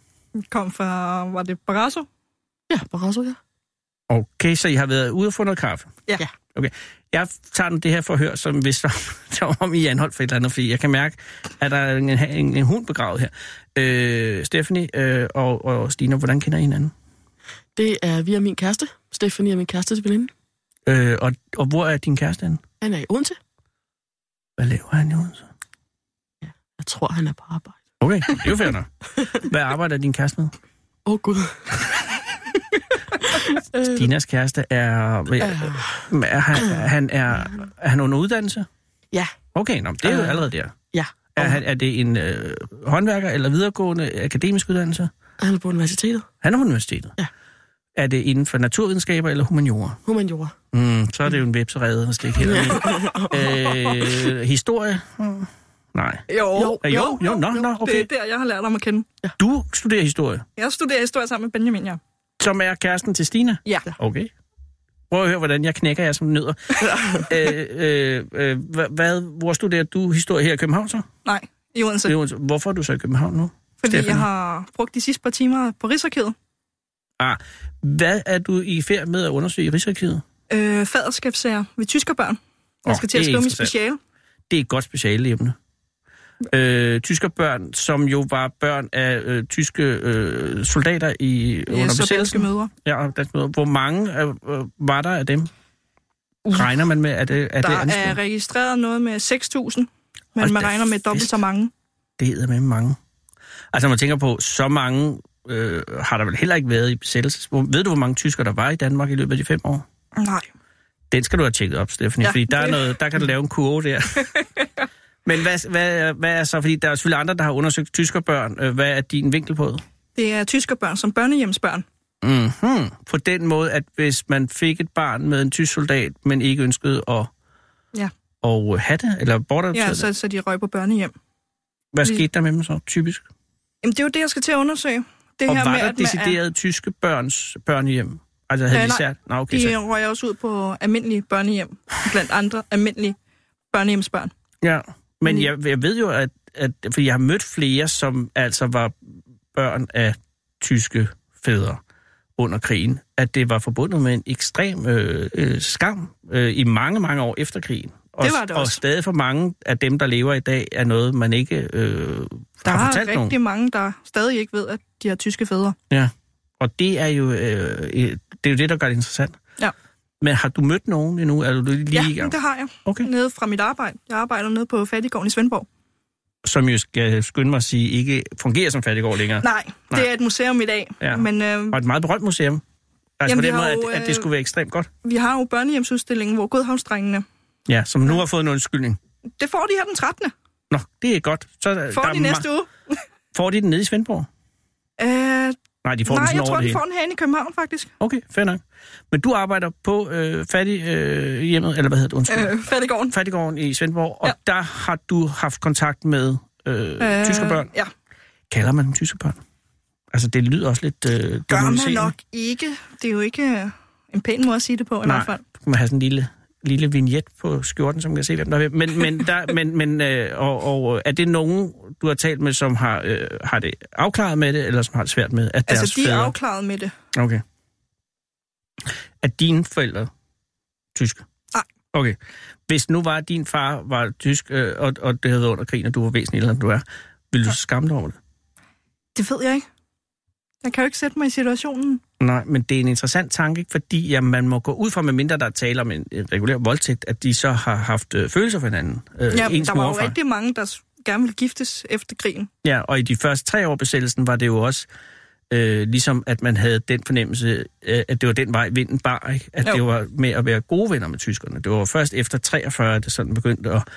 S6: kom fra, var det Barrasso?
S5: Ja, Barrasso, ja.
S3: Okay, så I har været ude og få noget kaffe?
S6: Ja.
S5: Ja.
S3: Okay. Jeg tager den det her forhør, som hvis [laughs] som, som om I er anholdt for et eller andet, fordi jeg kan mærke, at der er en, en, en hund begravet her. Øh, Stephanie øh, og, og Stina, hvordan kender I hinanden?
S5: Det er vi og min kæreste. Stephanie er min kærestes veninde.
S3: Øh, og, og hvor er din kæreste henne?
S5: Han er i Odense.
S3: Hvad laver han i Odense?
S5: Jeg tror, han er på arbejde.
S3: Okay, det er jo fair nok. [laughs] Hvad arbejder din kæreste med?
S5: Åh, oh, Gud. øh,
S3: Dinas kæreste er...
S5: øh,
S3: er han, han er, er han under uddannelse?
S5: ja,
S3: Okay, nå, men det er jo
S5: Øh,
S3: allerede der.
S5: ja.
S3: Er, han, er det en øh, håndværker eller videregående akademisk uddannelse?
S5: Han er på universitetet.
S3: Han er på universitetet?
S5: Ja.
S3: Er det inden for naturvidenskaber eller humaniora?
S5: Humaniora.
S3: Mm, så er det jo en vipserede at stikke heller i. øh, historie? Mm, nej.
S5: Jo.
S3: Ja, jo, jo, nå, nå,
S6: Det
S3: okay.
S6: er der, jeg har lært om at kende.
S3: Du studerer historie,
S6: Jeg studerer historie sammen med Benjamin, ja.
S3: som er kæresten til Stina?
S5: Ja.
S3: Okay. Prøv at høre, hvordan jeg knækker jer som nødder. øh, øh, øh, hva- hvad, hvor studerer du historie her i København så?
S6: Nej, i Odense.
S3: Det er jo- Hvorfor er du så i København nu?
S6: Fordi
S3: Stephanie.
S6: jeg har brugt de sidste par timer på Rigsarkivet.
S3: Ah, hvad er du i færd med at undersøge i Rigsarkivet?
S6: Øh, faderskabssager ved tyskerbørn. Jeg
S3: Åh,
S6: skal
S3: det
S6: til at
S3: er
S6: skrive min
S3: interessant.
S6: speciale.
S3: Det er et godt specialeemne. Øh, tyskerbørn, som jo var børn af øh, tyske øh, soldater i yes, under
S6: Ja, så danske
S3: besættelsen.
S6: mødre.
S3: Ja, og danske møder. Hvor mange øh, øh, var der af dem? Regner man med, at det er det
S6: Uh. Der
S3: anslået?
S6: er registreret noget med 6.000,
S3: Hold
S6: men man
S3: da
S6: regner med dobbelt
S3: fest.
S6: så mange.
S3: Det er med mange. Altså, når man tænker på, så mange øh, har der vel heller ikke været i besættelse. Hvor- Ved du, hvor mange tyskere der var i Danmark i løbet af de fem år?
S6: Nej.
S3: Den skal du have tjekket op, Stephanie, ja,
S6: Ja,
S3: fordi der, er
S6: det-
S3: noget, der kan du lave en kurve der.
S6: [laughs]
S3: Men hvad, hvad, hvad er så, fordi der er selvfølgelig andre, der har undersøgt tyskerbørn. Øh, Hvad er din vinkel på det?
S6: Det er tyskerbørn som børnehjemsbørn.
S3: Mm-hmm. På den måde, at hvis man fik et barn med en tysk soldat, men ikke ønskede at,
S6: Ja.
S3: at have det, eller bortadoptere
S6: Ja,
S3: ja,
S6: så, så de røg på børnehjem.
S3: hvad
S6: vi-
S3: skete der med dem så, typisk?
S6: Jamen, det er jo det, jeg skal til at undersøge. Det
S3: Og
S6: her
S3: var
S6: med,
S3: der
S6: at man er-
S3: decideret tyske børns børnehjem? Altså havde
S6: Øh,
S3: de
S6: nej.
S3: sært? Nå, okay, så.
S6: De røg også ud på almindelige børnehjem, blandt andre almindelige børnehjemsbørn.
S3: Ja. Men jeg, jeg ved jo, at, at for jeg har mødt flere, som altså var børn af tyske fædre under krigen, at det var forbundet med en ekstrem øh, øh, skam øh, i mange, mange år efter krigen. Og,
S6: Det var det
S3: og
S6: også.
S3: stadig for mange af dem, der lever i dag, er noget, man ikke øh,
S6: Der
S3: har
S6: er
S3: fortalt nogen.
S6: rigtig mange, der stadig ikke ved, at de har tyske fædre.
S3: Ja, og det er jo øh, øh, det, er jo det der gør det interessant.
S6: Ja.
S3: Men har du mødt nogen endnu? Er du lige
S6: Ja,
S3: i gang?
S6: det har jeg.
S3: Okay.
S6: Nede fra mit arbejde. Jeg arbejder nede på Fattigården i Svendborg.
S3: Som jo skal skynde mig at sige, ikke fungerer som fattigård længere.
S6: Nej,
S3: Nej.
S6: det er et museum i dag.
S3: Ja.
S6: Men øh,
S3: Og et meget berømt museum. Altså
S6: Jamen,
S3: Jamen, på
S6: vi
S3: den
S6: har
S3: måde,
S6: jo,
S3: at, at det
S6: øh,
S3: skulle være ekstremt godt.
S6: vi har jo børnehjemsudstillingen, hvor Godhavnsdrengene...
S3: Ja, som nu har fået en undskyldning.
S6: Det får de her den 13.
S3: Nå, det er godt. Så, er der-
S6: Får
S3: der er
S6: de næste
S3: ma-
S6: uge.
S3: Får de den nede i Svendborg?
S6: Øh,
S3: Nej, de får den
S6: nej,
S3: sådan
S6: jeg
S3: over
S6: tror,
S3: det
S6: de
S3: hele.
S6: får den herinde i København, faktisk.
S3: Okay, fair nok. Men du arbejder på øh, fattig, øh, hjemmet, eller hvad hedder det? Undskyld. Øh.
S6: Øh, Fattigården.
S3: Fattiggården i Svendborg, og
S6: Ja.
S3: der har du haft kontakt med øh, øh.
S6: Øh,
S3: tyske børn.
S6: Ja,
S3: Kalder man dem tyske børn? Altså, det lyder også lidt øh,
S6: gør man
S3: dæmoniserende.
S6: nok ikke. Det er jo ikke øh, en pæn måde at sige det på, i
S3: Nej,
S6: hvert fald.
S3: så kan man have sådan en lille, lille vignet på skjorten, som kan se, hvem der er hvem. Men, men, der, men, men øh, og, og, øh, er det nogen, du har talt med, som har, øh, har det afklaret med det, eller som har det svært med, at deres
S6: Altså, de er
S3: fædre...
S6: afklaret med det.
S3: Okay. Er dine forældre tyske?
S6: Nej.
S3: Okay. Hvis nu var, at din far var tysk, øh, og, og det havde været under krigen, og du var væsentligt ældre, end du er, ville du skamme dig over det?
S6: Det ved jeg ikke. Jeg kan jo ikke sætte mig i situationen.
S3: Nej, men det er en interessant tanke, ikke? fordi jamen, man må gå ud fra, medmindre der er tale om en, en regulær voldtægt, at de så har haft øh, følelser for hinanden. Øh,
S6: Ja,
S3: ens
S6: der
S3: mor
S6: var
S3: og
S6: jo
S3: far.
S6: rigtig mange, der s- gerne ville giftes efter krigen.
S3: Ja, og i de første tre år af besættelsen var det jo også øh, ligesom, at man havde den fornemmelse, øh, at det var den vej, vinden bar, ikke? At jo.
S6: Jo.
S3: det var med at være gode venner med tyskerne. Det var først efter 43, at det sådan begyndte at,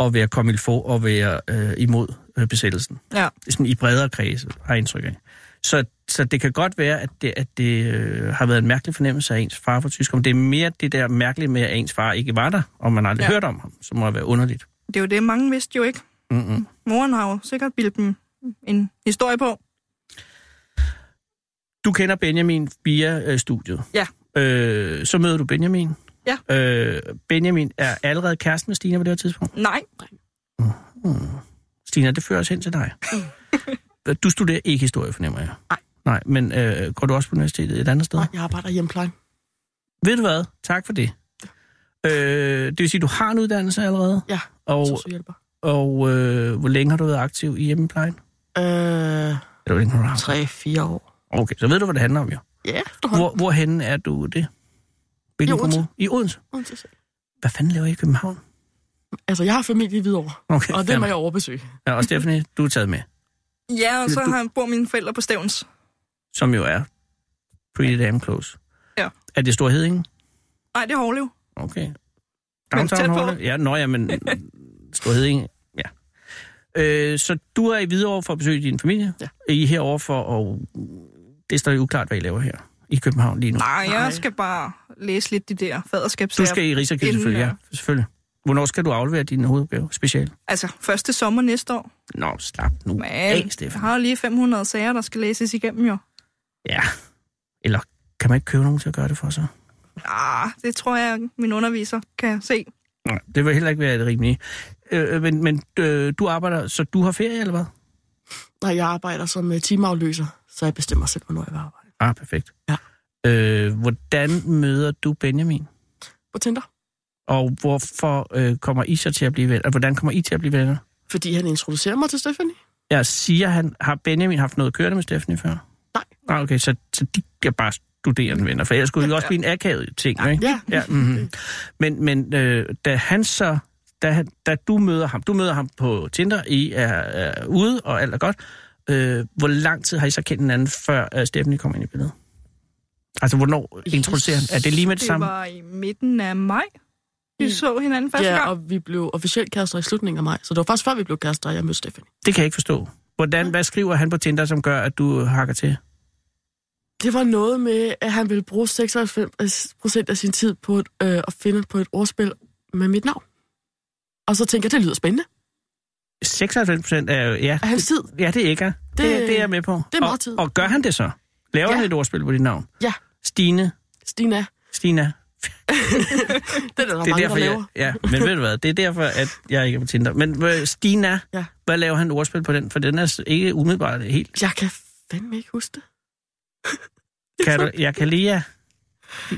S3: at være comme il faut og være øh, imod øh, besættelsen.
S6: Ja.
S3: Sådan i bredere kredse, har jeg indtryk af. Så, så det kan godt være, at det, at det øh, har været en mærkelig fornemmelse af ens far for tysker. Men det er mere det der mærkelige med, at ens far ikke var der, og man aldrig ja.
S6: Ja.
S3: hørte om ham, som må være underligt.
S6: Det er jo det, mange vidste jo ikke.
S3: Mm-mm.
S6: Moren har jo sikkert bildt dem en historie på.
S3: du kender Benjamin via øh, studiet.
S6: Ja.
S3: Øh, så møder du Benjamin.
S6: Ja.
S3: Øh, Benjamin er allerede kæresten med Stina på det her tidspunkt. Hmm.
S6: Nej,
S3: Stina, det fører os hen til dig. du studerer ikke historie, fornemmer jeg.
S5: Nej.
S3: Nej, men øh, går du også på universitetet et andet sted?
S5: Nej, jeg arbejder i hjemmeplejen.
S3: Ved du hvad? Tak for det. Øh, det vil sige, du har en uddannelse allerede,
S5: Ja,
S3: og,
S5: så hjælper.
S3: og øh, hvor længe har du været aktiv i hjemmeplejen?
S5: Øh,
S3: Eller hvor længe har du haft?
S5: 3-4 år.
S3: Okay, så ved du, hvad det handler om, jo.
S5: Ja, efterhånden.
S3: Hvor, hvorhenne er du det? Hvilken
S5: I Odense.
S3: kommune? I Odense.
S5: Hvor?
S3: Hvad fanden laver I i København?
S5: Altså, jeg har familie i Hvidovre,
S3: Okay,
S5: og
S3: fair
S5: det må
S3: nok.
S5: jeg overbesøge.
S3: Ja, og Stephanie, du er taget med,
S6: Ja, og så
S3: Du-
S6: har bor mine forældre på Stævns.
S3: som jo er pretty damn close.
S6: Ja.
S3: Er det Stor Hedingen?
S6: Nej, det er Hårlev.
S3: Okay.
S6: Men tæt
S3: Downtown
S6: på.
S3: Hall? Ja, nå ja, men Stor Hedingen, ja. Øh, så du er i Hvidovre for at besøge din familie.
S5: Ja.
S3: I er herovre for, og det står jo uklart, hvad I laver her. i København lige nu?
S6: Nej,
S5: Nej.
S6: jeg skal bare læse lidt de der faderskabssager.
S3: Du skal i Rigsarkivet
S6: inden,
S3: selvfølgelig, ja. Selvfølgelig. Hvornår skal du aflevere din hovedopgave special?
S6: Altså, første sommer næste år.
S3: Nå, slap nu
S6: Men
S3: af,
S6: jeg
S3: Stefan.
S6: har jo lige 500 sager, der skal læses igennem jo.
S3: Ja. Eller kan man ikke købe nogen til at gøre det for sig?
S6: Ah, det tror jeg, min underviser kan se.
S3: Nej, det vil heller ikke være det rimelige. Øh, men men øh, du arbejder, så du har ferie, eller hvad?
S5: Nej, jeg arbejder som øh, timeafløser, så jeg bestemmer selv, hvornår jeg vil arbejde.
S3: Ah, perfekt.
S5: Ja.
S3: Øh, hvordan møder du Benjamin?
S5: På Tinder.
S3: Og hvorfor øh, kommer I så til at blive venner? Og hvordan kommer I til at blive venner?
S5: Fordi han introducerer mig til Stephanie.
S3: Jeg siger, han har Benjamin haft noget kørende med Stephanie før?
S5: Nej.
S3: Ah, okay, så, så de er bare studerende venner, for ellers skulle det jo også blive en akavet ting, ja. ikke?
S5: Ja.
S3: Ja, mm-hmm. Men, men øh, da han så, da, han- da du møder ham, du møder ham på Tinder, I er, er ude, og alt er godt. Øh, hvor lang tid har I så kendt hinanden, før øh, Stephanie kom ind i billedet? Altså, hvornår introducerer han? Er det lige med det,
S6: Det
S3: samme?
S6: var i midten af maj, vi
S5: Mm.
S6: så hinanden første
S5: ja,
S6: gang.
S5: og vi blev officielt kærester i slutningen af maj. Så det var faktisk før, vi blev kærester, at jeg mødte Stephanie.
S3: Det kan jeg ikke forstå. Hvordan, Hvad skriver han på Tinder, som gør, at du hakker til?
S5: Det var noget med, at han ville bruge 96 procent af sin tid på et, øh, at finde på et ordspil med mit navn. Og så tænker jeg, det lyder spændende.
S3: 96 procent er jo... Ja,
S5: Af hans tid.
S3: ja det er ikke. Det, det, det er jeg med på.
S5: det er meget
S3: og,
S5: tid.
S3: og gør han det så? Laver
S5: Ja.
S3: han et ordspil på dit navn?
S5: Ja.
S3: Stine.
S5: Stina,
S3: Stina.
S5: det er der, der
S3: det er
S5: mange,
S3: derfor,
S5: der
S3: jeg,
S5: laver.
S3: ja, men ved du hvad, det er derfor, at jeg ikke er på Tinder. Men øh, Stina, ja.
S5: Ja.
S3: hvad laver han ordspil på den? For den er s- ikke umiddelbart helt.
S5: Jeg kan fandme ikke huske det.
S3: Kan du, jeg kan lige...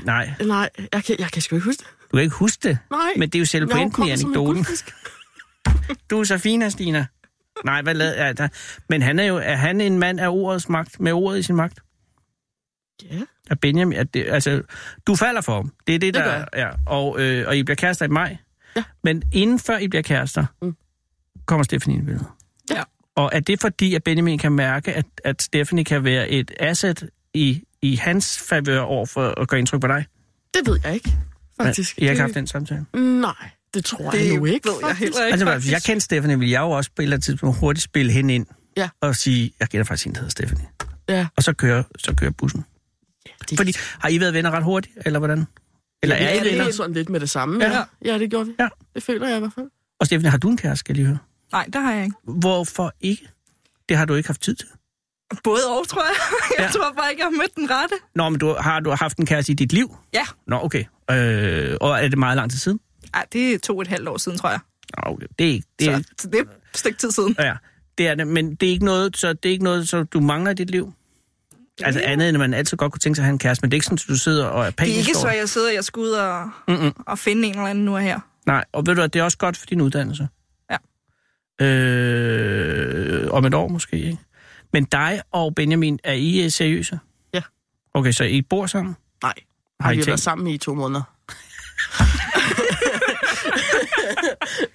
S3: Nej,
S5: Øh, Nej, jeg kan, jeg kan sgu ikke huske det.
S3: du kan ikke huske det.
S5: Nej.
S3: Men det er jo selv
S5: Jeg har jo
S3: pointen i
S5: kommet som en
S3: anekdoten.
S5: guldfisk.
S3: Du er så fin, her, Stina. Nej, hvad lavede jeg der? Men han er jo, er han en mand af ordets magt, med ordet i sin magt?
S5: Ja.
S3: Er Benjamin, er det, altså, du falder for ham. Det er det,
S5: Det
S3: der,
S5: gør jeg.
S3: ja, og, øh, og I bliver kærester i maj.
S5: Ja.
S3: Men inden før I bliver kærester,
S5: Mm.
S3: kommer Stephanie ind i billedet.
S6: Ja.
S3: Og er det fordi, at Benjamin kan mærke, at, at Stephanie kan være et asset i, i hans favør over for at gøre indtryk på dig?
S5: Det ved jeg ikke, faktisk.
S3: Men I har ikke haft den samtale?
S5: Nej, det tror det jeg nu ikke.
S6: ved jeg
S5: faktisk.
S6: heller ikke.
S3: Altså, hvis
S6: faktisk.
S3: jeg kendte Stephanie, ville jeg jo også på et eller andet tidspunkt hurtigt spille hende ind.
S5: Ja.
S3: Og sige, jeg gætter faktisk, hende hedder Stephanie.
S5: Ja.
S3: Og så kører, så kører bussen.
S5: Det,
S3: Fordi, har I været venner ret hurtigt, eller hvordan? Eller
S5: ja,
S3: er I
S5: det
S3: venner?
S5: ender sådan lidt med det samme.
S6: Ja.
S5: Ja, ja det gjorde vi.
S3: Ja.
S5: Det føler jeg i hvert fald.
S3: Og Stephanie, har du en kæreste, skal jeg lige høre?
S6: Nej, det har jeg ikke.
S3: Hvorfor ikke? Det har du ikke haft tid til.
S6: Både og, tror jeg. [laughs] Jeg
S3: Ja.
S6: tror bare ikke, jeg har mødt den rette.
S3: Nå, men du, har du haft en kæreste i dit liv?
S6: Ja.
S3: Nå, okay. Øh, og er det meget lang tid siden?
S6: Ej, det er to og et halvt år siden, tror jeg.
S3: Nå, okay. det er ikke... Det er,
S6: Så det er et stykke tid siden.
S3: ja, det er det, men det er ikke noget, så det er ikke noget, så du mangler i dit liv? Altså andet end, at man altid godt kunne tænke sig at have en kæreste, men det er ikke sådan, at du sidder og er panisk
S6: Det er ikke
S3: over
S6: så,
S3: det.
S6: jeg sidder og jeg skal ud og,
S3: Mm-mm.
S6: og finde en eller anden nu og her.
S3: Nej, og ved du hvad, det er også godt for din uddannelse.
S6: Ja.
S3: Øh, om et år måske, ikke? Men dig og Benjamin, er I øh, seriøse?
S5: Ja.
S3: Okay, så I bor
S6: [laughs]
S3: sammen?
S5: Nej,
S3: Har
S5: har
S3: I
S5: vi har
S3: tænkt-
S5: været sammen i to måneder.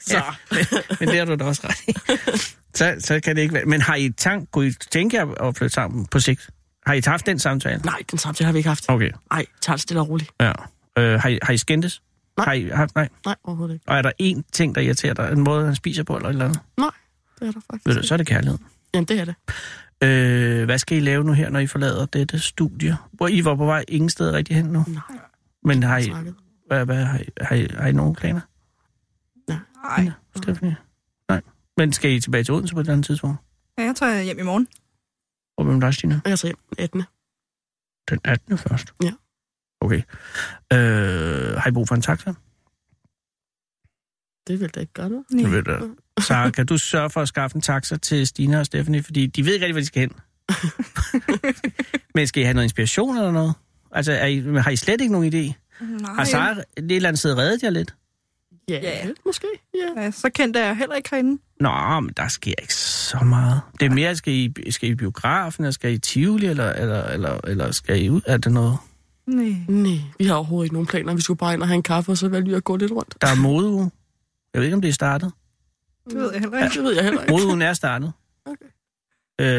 S5: så,
S3: Ja, men, men det har du da også
S6: [laughs]
S3: ret i. Så, så kan det ikke være. Men har I tank, kunne I tænke jer at flytte sammen på sigt? Har I haft den samtale?
S5: nej, den samtale har vi ikke haft.
S3: Okay,
S5: Nej, tag det stille og roligt.
S3: ja. Øh, har, I, har I skændtes?
S5: Nej.
S3: Har I haft, nej.
S5: Nej, overhovedet ikke.
S3: Og er der én ting, der irriterer dig? En måde, han spiser på eller et eller andet?
S5: Nej, det er der faktisk
S3: Ved du,
S5: ikke.
S3: så er det kærlighed.
S5: Jamen, det er det.
S3: Øh, hvad skal I lave nu her, når I forlader dette studie? Hvor I var på vej ingen steder rigtig hen nu?
S5: Nej,
S3: Men har I,
S5: snakket.
S3: hvad, hvad, har I, har I, har I nogen planer?
S6: Nej,
S3: Mm. Stephanie? Nej. Men skal I tilbage til Odense på et eller andet tidspunkt?
S6: ja, jeg tager hjem i morgen.
S3: Og hvem der Stine?
S5: Og jeg tager hjem den 18.
S3: Den 18. først?
S5: Ja.
S3: Okay. Øh, har I brug for en taxa?
S5: Det vil da ikke gøre noget.
S3: Jeg ved det. Så kan du sørge for at skaffe en taxa til Stine og Stephanie, fordi de ved ikke rigtig, hvor de skal hen. Men skal I have noget inspiration eller noget? Altså, er I, har I slet ikke nogen idé? Har
S6: Nej,
S3: Sara et eller andet sted reddet jer lidt?
S5: Ja,
S6: Ja.
S5: yeah. måske. Ja.
S6: ja, så kendte jeg heller ikke herinde.
S3: Nå, men der sker ikke så meget. Det er mere, skal I, skal I i biografen, eller skal I i Tivoli, eller, eller, eller, eller skal I ud? Er det noget?
S6: Nej.
S5: Nej, vi har overhovedet ikke nogen planer. Vi skulle bare ind og have en kaffe, og så valgte vi at gå lidt rundt.
S3: Der er modeuge. Jeg ved ikke, om det er startet.
S6: Det ved jeg heller
S5: Ja.
S6: ikke.
S5: Det ved jeg heller ikke.
S3: Modeugen er startet.
S5: Okay.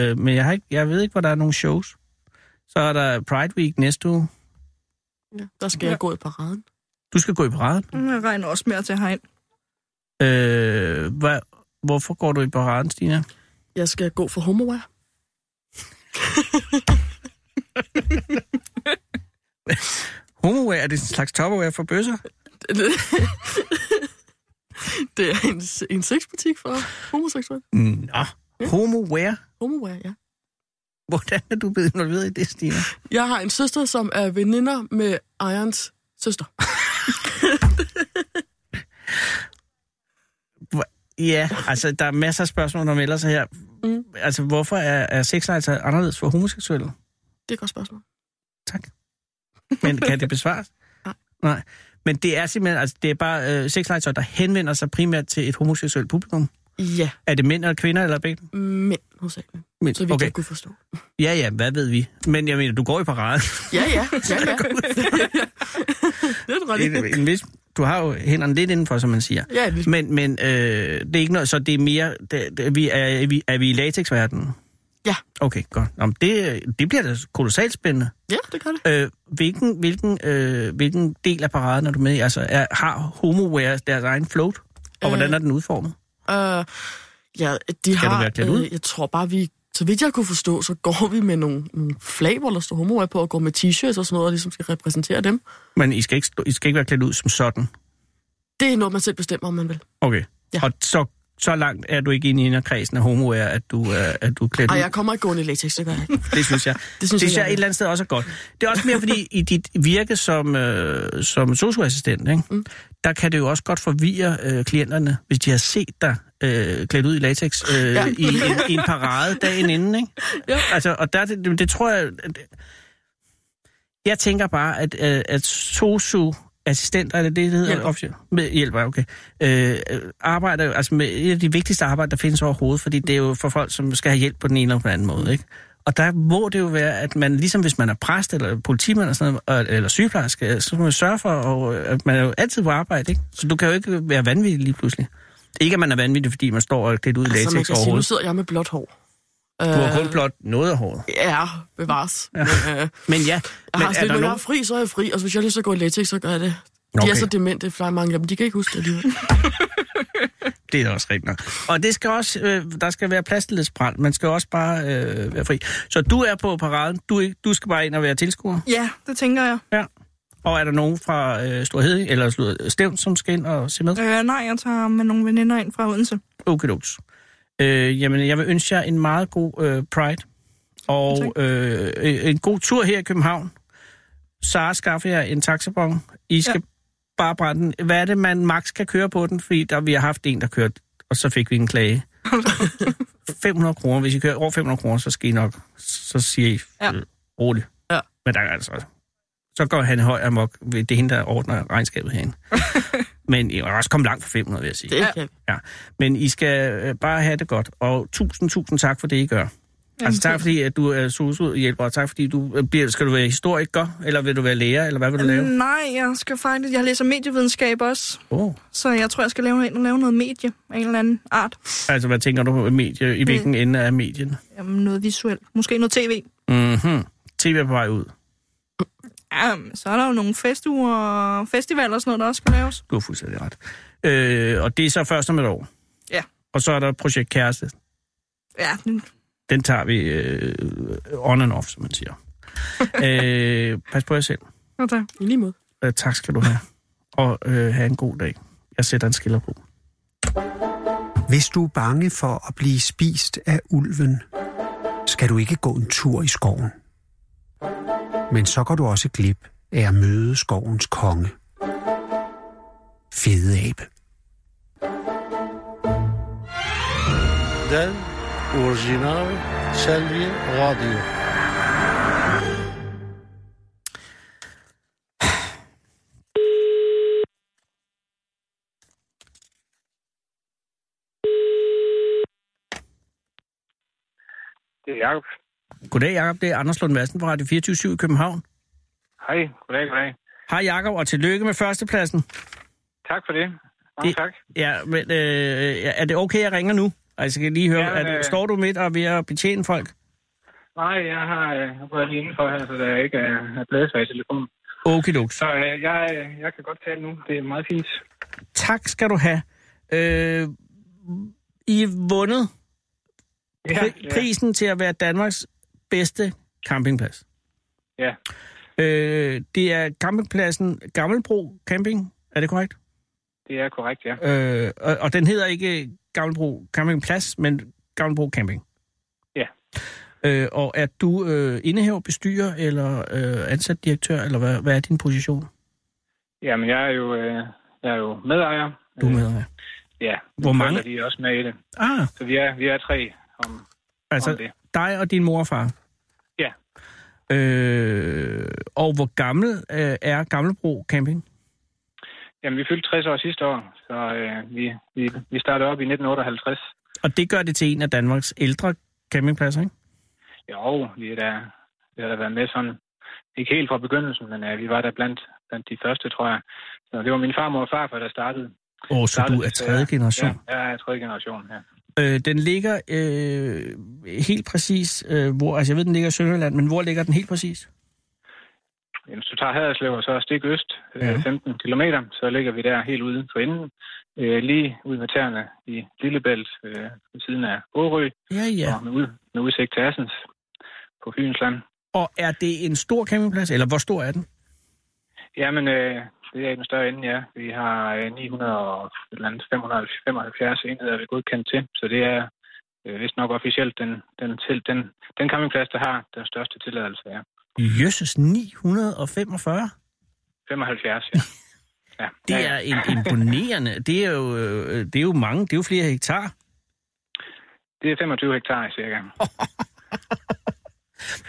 S3: Øh, men jeg, har ikke, jeg ved ikke, hvor der er nogle shows. Så er der Pride Week næste uge.
S5: Ja. Der skal jeg gå i paraden.
S3: Du skal gå i paraden.
S6: Jeg regner også med at tage herind.
S3: Øh, hvad, hvorfor går du i paraden, Stina?
S5: Jeg skal gå for homoware.
S3: Homoware, er det en slags topperware for bøsser?
S5: [laughs] det er en, en sexbutik for homoseksuelle.
S3: Nå, homoware.
S5: Homoware, ja.
S3: Hvordan er du blevet involveret i det, Stine?
S5: Jeg har en søster, som er veninder med Irons søster.
S3: Hvor- Ja, altså, der er masser af spørgsmål, der melder sig her. Mm.
S5: Mm.
S3: Altså, hvorfor er, er sexlegetøj anderledes for homoseksuelle?
S5: Det er et godt spørgsmål.
S3: Tak. Men kan det besvares?
S5: Nej.
S3: Nej. Men det er simpelthen, altså, det er bare øh, sexlegetøj, der henvender sig primært til et homoseksuelt publikum.
S5: Ja,
S3: Er det mænd eller kvinder, eller begge?
S5: mænd hovedsageligt.
S3: Mænd.
S5: Mm. Så vi okay.
S3: okay.
S5: kan kunne forstå.
S3: Ja, ja, hvad ved vi? Men jeg mener, du går i parade.
S5: [laughs] Ja,
S3: [laughs]
S5: ja, ja, ja. [laughs] det er du ret i.
S3: en, en vis, du har jo hænderne lidt indenfor, som man siger.
S5: Ja, det,
S3: Men, men øh, det er ikke noget, så det er mere, det, det, vi er, er, vi, er vi i latexverdenen?
S5: Ja.
S3: Okay, godt. Om det, det bliver da kolossalt spændende.
S5: ja, det gør det.
S3: Øh, hvilken, hvilken, øh, hvilken del af paraden er du med i? Altså, er, har homoware deres egen float? Og øh,
S5: Øh,
S3: hvordan er den udformet?
S5: Uh, ja, de
S3: Skal du
S5: har,
S3: være klædt ud?
S5: øh, jeg tror bare, vi, så vidt jeg kunne forstå, så går vi med nogle, nogle flag, hvor der står homo på, og går med t-shirts og sådan noget, og ligesom skal repræsentere dem.
S3: Men I skal, ikke, stå- I skal ikke være klædt ud som sådan.
S5: Det er noget, man selv bestemmer, om man vil.
S3: Okay. Ja.
S5: Ja.
S3: Og så, så langt er du ikke inde i inderkredsen af homoer, at du, er, at du er klædt
S5: Ej,
S3: ud.
S5: jeg kommer ikke gående i latex, det gør jeg ikke.
S3: Det synes jeg.
S5: Det synes
S3: det synes
S5: jeg,
S3: jeg
S5: jeg
S3: et
S5: er.
S3: eller andet sted også er godt. Det er også mere fordi, i dit virke som, øh, som socioassistent, ikke? Mm. der kan det jo også godt forvirre øh, klienterne, hvis de har set dig øh, klædt ud i latex øh, ja.
S5: Ja.
S3: i, en, i en parade dagen inden. Ikke?
S5: Ja.
S3: Altså, og der, er det, det tror jeg... at- Jeg tænker bare, at, øh, at sosu assistenter, er det det, det hedder?
S5: Hjælper.
S3: Officielt? Med, hjælper, okay. Øh, arbejder, jo- altså med et af de vigtigste arbejder, der findes overhovedet, fordi det er jo for folk, som skal have hjælp på den ene eller på den anden måde, ikke? Og der må det jo være, at man, ligesom hvis man er præst eller politimand eller, sådan noget, og- eller sygeplejerske, øh, så skal man jo sørge for, og, øh, at man er jo altid på arbejde, ikke? Så du kan jo ikke være vanvittig lige pludselig. Ikke, at man er vanvittig, fordi man står og er klædt ud i latex
S5: Altså, man kan sige, nu
S3: overhovedet.
S5: sidder jeg med blåt hår.
S3: Du har kun blot noget af håret.
S5: Ja, bevares. Ja. Men, øh,
S3: Men ja,
S5: jeg
S3: men
S5: har
S3: er
S5: sådan,
S3: der
S5: når jeg
S3: nogen...
S5: er fri, så er jeg fri, og så hvis jeg har lyst til at gå i latex, så gør jeg det. De
S3: Okay.
S5: er så demente, flere mange af dem, de kan ikke huske det alligevel.
S3: Det er da også rigtigt nok. Og det skal også, øh, der skal være plads til lidt sprænd. Man skal også bare øh, være fri. Så du er på paraden. Du, er ikke- du skal bare ind og være tilskuer.
S6: Ja, det tænker jeg.
S3: Ja. Og er der nogen fra øh, Storhed eller Stor- Stævn, som skal ind og se med?
S6: Øh, nej, jeg tager med nogle veninder ind fra Odense.
S3: Okay, dogs. Øh, jamen, jeg vil ønske jer en meget god øh, Pride. Og øh, øh, en god tur her i København. Sara skaffer jer en taxabon. I skal ja. bare brænde den. Hvad er det, man maks kan køre på den? Fordi der, vi har haft en, der kørte, og så fik vi en klage. 500 kroner. Hvis I kører over 500 kroner, så skal I nok, så siger I ja.
S6: Ja.
S3: øh, roligt.
S5: Ja.
S3: Men der er altså... Så går han høj amok. Det er hende, der ordner regnskabet herinde. Men I er også kommet langt for 500, vil jeg sige.
S5: Det ja. kan
S3: Ja, men I skal øh, bare have det godt, og tusind, tusind tak for det, I gør. altså tak fordi, at du er sosu-hjælper, og tak fordi du øh, bliver, skal du være historiker, eller vil du være lærer, eller hvad vil du lave?
S6: Nej, jeg skal faktisk... Jeg læser medievidenskab også,
S3: Oh.
S6: så jeg tror, jeg skal lave, ind og lave noget medie af en eller anden art.
S3: Altså, hvad tænker du på medie, i hvilken ende af medien?
S6: Jamen, noget visuelt. Måske noget tv.
S3: Mhm. TV er på vej ud.
S6: Jamen, så er der jo nogle festuger og festivaler og sådan noget, der også skal laves.
S3: Du har fuldstændig ret. Øh, og det er så først om et år.
S6: Ja.
S3: Og så er der projekt Kæreste.
S6: Ja, den-
S3: Den tager vi øh, on and off, som man siger. øh, pas på jer selv.
S6: okay.
S5: I lige måde.
S3: Øh, tak skal du have. Og øh, have en god dag. Jeg sætter en skiller på.
S1: Hvis du er bange for at blive spist af ulven, skal du ikke gå en tur i skoven. Men så går du også glip af at møde skovens konge. Fede abe.
S7: Den originale Salvi Radio.
S8: Det er Jacob.
S3: Goddag, Jacob. Det er Anders Lund Madsen fra Radio 24 i København.
S8: Hej, goddag, goddag.
S3: Hej, Jacob, og tillykke med førstepladsen.
S8: Tak for det. Mange
S3: Det-
S8: det... tak.
S3: Ja, men øh, er det okay, jeg ringer nu? Altså, jeg kan lige høre,
S8: Ja,
S3: ja, er,
S8: øh.
S3: du- står du midt og er ved at betjene folk?
S8: Nej, jeg har øh, jeg været lige indenfor her, så der ikke er, er bladesvær i telefonen.
S3: Okidok.
S8: Så øh, jeg, øh, jeg kan godt tale nu. Det er meget fint.
S3: Tak skal du have. Øh, I har vundet pri- prisen til at være Danmarks bedste campingplads.
S8: Ja.
S3: Øh, det er campingpladsen Gammelbro Camping, er det korrekt?
S8: Det er korrekt, ja.
S3: Øh, og, og den hedder ikke Gammelbro Campingplads, men Gammelbro Camping.
S8: Ja.
S3: Øh, og er du øh, indehaver, bestyrer eller øh, ansat direktør, eller hvad, hvad er din position?
S8: Jamen, jeg er jo, øh, jeg er jo medejer.
S3: Du er
S8: Øh,
S3: med.
S8: Ja.
S3: Hvor
S8: Mine
S3: mange?
S8: forældre, De er også med i det.
S3: Ah,
S8: Så vi er, vi er tre om, altså... om
S3: altså
S8: det.
S3: dig og din mor og far.
S8: Ja.
S3: Øh, og hvor gammel øh, er Gammelbro Camping?
S8: Jamen, vi fyldte 60 år sidste år, så øh, vi, vi, vi startede op i 1958.
S3: Og det gør det til en af Danmarks ældre campingpladser, ikke?
S8: Jo, vi er da, vi har da været med sådan, ikke helt fra begyndelsen, men øh, vi var da blandt, blandt de første, tror jeg. Så det var min farmor og farfar, der startede.
S3: Åh, så
S8: startede
S3: du er
S8: det,
S3: tredje generation.
S8: Ja, jeg er tredje generation, ja.
S3: Øh, den ligger øh, helt præcis, øh, hvor, altså jeg ved, den ligger i Sønderjylland, men hvor ligger den helt præcis?
S8: Jamen, hvis du tager Haderslev og så er stik øst,
S3: Ja.
S8: ja. 15 km, så ligger vi der helt ude for enden. Øh, lige ud med tæerne i Lillebælt, øh, ved siden af Årø,
S3: Ja,
S8: ja.
S3: ja.
S8: og med, ud, med udsigt til Assens på Fynsland.
S3: Og er det en stor campingplads, eller hvor stor er den?
S8: Jamen, øh, det er i den større ende, ja. Vi har øh, 900 og et eller andet 575 enheder, vi er godkendt til, så det er øh, vist nok officielt den, den, til, den, den campingplads, der har den største tilladelse, ja.
S3: Jøsses, 945?
S8: 75,
S3: [laughs]
S8: ja. ja.
S3: Det
S8: ja, ja.
S3: er en imponerende, det er, jo, øh, det er jo mange, det er jo flere hektar.
S8: Det er 25 hektar cirka.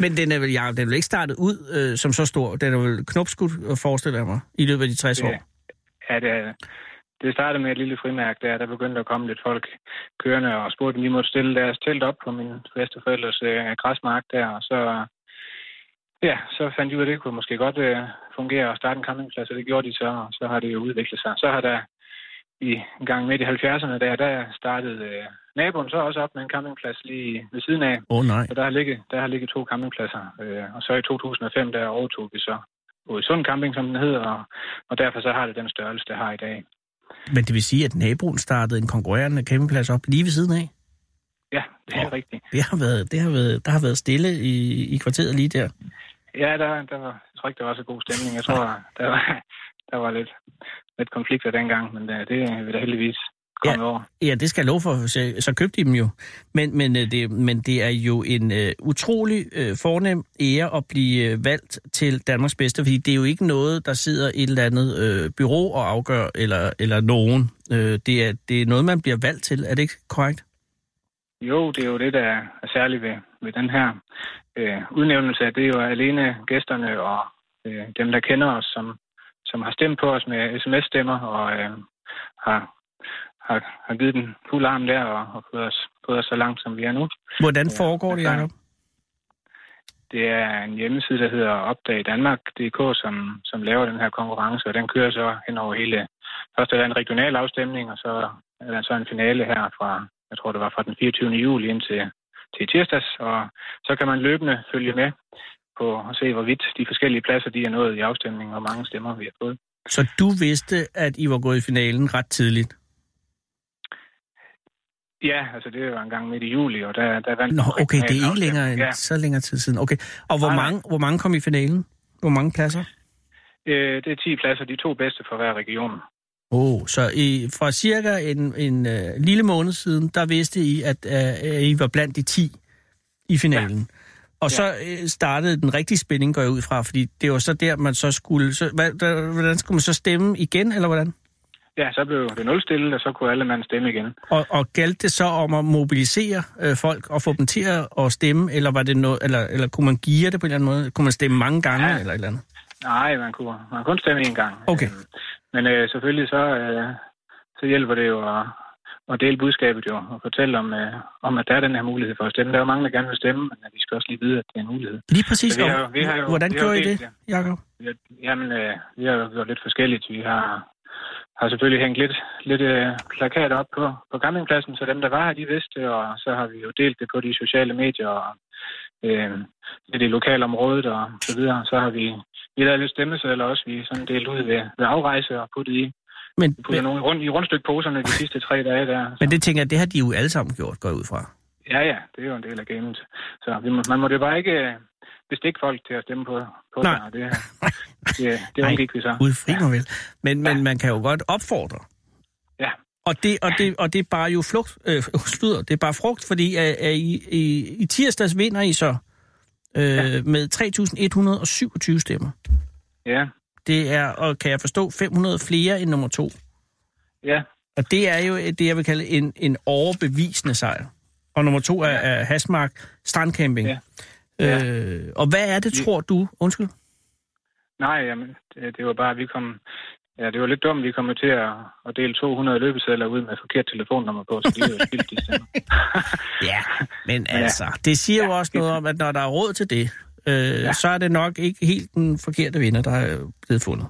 S3: Men den er vel, ja, den er vel ikke startet ud øh, som så stor, den er vel knopskudt, forestiller jeg mig, i løbet af de 60
S8: Det-
S3: år.
S8: Ja, det, er- det startede med et lille frimærk der. Der begyndte at komme lidt folk kørende og spurgte, om de måtte stille deres telt op på min bedsteforældres øh, græsmark der. Og så, ja, så fandt de ud af, at det kunne måske godt øh, fungere at starte en campingplads, og det gjorde de så, og så har det jo udviklet sig. Så har der i en gang midt i 70'erne, der, der startede øh, naboen så også op med en campingplads lige ved siden af.
S3: Åh oh, nej.
S8: Og der har ligget, der har ligget to campingpladser. Øh, og så i 2005, der overtog vi så Sund Camping, som den hedder, og, og derfor så har det den størrelse, det har i dag.
S3: Men det vil sige, at naboen startede en konkurrerende campingplads op lige ved siden af?
S8: Ja, det er
S3: Åh.
S8: oh. rigtigt.
S3: Det har været, det har været, der har været stille i, i kvarteret lige der.
S8: Ja, der, der var, jeg tror ikke, der var så god stemning. Jeg tror, der var, der var lidt, lidt konflikter dengang, men øh, det, det er vi da heldigvis kommet ja. over.
S3: Ja, det skal jeg love for, så, så købte de dem jo. Men, men, øh, det, men det er jo en øh, utrolig øh, fornem ære at blive øh, valgt til Danmarks bedste, fordi det er jo ikke noget, der sidder et eller andet øh, bureau og afgør, eller, eller nogen. Øh, det, er, det er noget, man bliver valgt til, er det ikke korrekt?
S8: Jo, det er jo det, der er særligt ved, ved den her øh, udnævnelse. at Det er jo alene gæsterne og øh, dem, der kender os, som, som har stemt på os med sms-stemmer og øh, har, har, har givet den fuld arm der og, og fået, os, fået os så langt, som vi er nu.
S3: Hvordan
S8: Ja,
S3: foregår det,
S8: det er
S3: Jacob?
S8: Det er en hjemmeside, der hedder Opdag Danmark.dk, som, som laver den her konkurrence, og den kører så hen over hele... Først er der en regional afstemning, og så er der så en finale her fra, jeg tror det var fra den 24. juli indtil til i tirsdags, og så kan man løbende følge med på og se, hvorvidt de forskellige pladser de er nået i afstemningen, og hvor mange stemmer vi har fået.
S3: Så du vidste, at I var gået i finalen ret tidligt?
S8: Ja, altså det var en gang midt i juli, og der, der vandt...
S3: Nå, okay, det er
S8: regional
S3: ikke længere end
S8: afstemning. Ja.
S3: så længere tid siden. Okay, og hvor
S8: Nej, nej.
S3: mange, hvor mange kom i finalen? Hvor mange pladser?
S8: Øh, det er 10 pladser, de to bedste for hver region.
S3: Oh, så i, fra cirka en, en øh, lille måned siden, der vidste I, at øh, I var blandt de 10 i finalen. Ja. Og så øh, startede den rigtige spænding, går jeg ud fra, fordi det var så der, man så skulle... Så, hvad, der, hvordan skulle man så stemme igen, eller hvordan?
S8: Ja, så blev det nulstillet, og så kunne alle mand stemme igen.
S3: Og, og galt det så om at mobilisere øh, folk og få dem til at at stemme, eller, var det noget, eller, eller kunne man geare det på en eller anden måde? Kunne man stemme mange gange, ja.
S8: Ja.
S3: eller et eller andet?
S8: Nej, man kunne, man kunne kun stemme én gang.
S3: Okay.
S8: Øhm, Men øh, selvfølgelig så, øh, så hjælper det jo at, at dele budskabet jo, og fortælle om, øh, om, at der er den her mulighed for at stemme. Der er jo mange, der gerne vil stemme, men vi skal også lige vide, at det er en mulighed.
S3: Lige præcis.
S8: Så vi har
S3: og
S8: jo- vi har jo-
S3: hvordan
S8: vi har jo
S3: gjorde I
S8: delt
S3: det, Jacob?
S8: Vi har- Jamen, øh, vi har jo gjort lidt forskelligt. Vi har, har selvfølgelig hængt lidt, lidt øh, plakater op på, på campingpladsen, så dem, der var her, de vidste, og så har vi jo delt det på de sociale medier og øh, lidt i lokalområdet og så videre. Så har vi, vi har lavet lidt stemmesedler også, vi sådan delt ud ved, ved afrejse og puttet i.
S3: Men,
S8: Vi putter
S3: men,
S8: nogle rund, i rundstykposerne de sidste tre dage der. Så,
S3: men det tænker jeg, det har de jo alle sammen gjort, går jeg ud fra.
S8: ja, ja, det er jo en del af gamet. Så vi må, man må det bare ikke... øh, bestikke folk til at stemme på, på
S3: Nej.
S8: sig, og det, det, det
S3: Nej.
S8: undgik vi så.
S3: Gud, fri mig vel. Men, men man kan jo godt opfordre.
S8: Ja.
S3: Og det, og det, og det er bare jo flugt, øh, sludder, det er bare frugt, fordi øh, øh, i, i, i tirsdags vinder I så øh, ja. med 3.127 stemmer.
S8: Ja,
S3: Det er, og kan jeg forstå, 500 flere end nummer to.
S8: ja,
S3: Og det er jo øh, det, jeg vil kalde en, en overbevisende sejr. Og nummer to er, er Hasmark Strandcamping.
S8: Ja.
S3: Ja.
S8: Ja.
S3: Øh, og hvad er det,
S8: Ja.
S3: tror du? Undskyld.
S8: nej, jamen, det, det var bare, vi kom... Ja, det var lidt dumt, vi kom jo til at, at dele 200 løbesedler ud med forkert telefonnummer på, så de er jo spildt de stemmer.
S3: Ja, men
S8: Ja.
S3: altså, det siger jo også noget om, at når der er råd til det, øh, ja. så er det nok ikke helt den forkerte vinder, der er blevet fundet.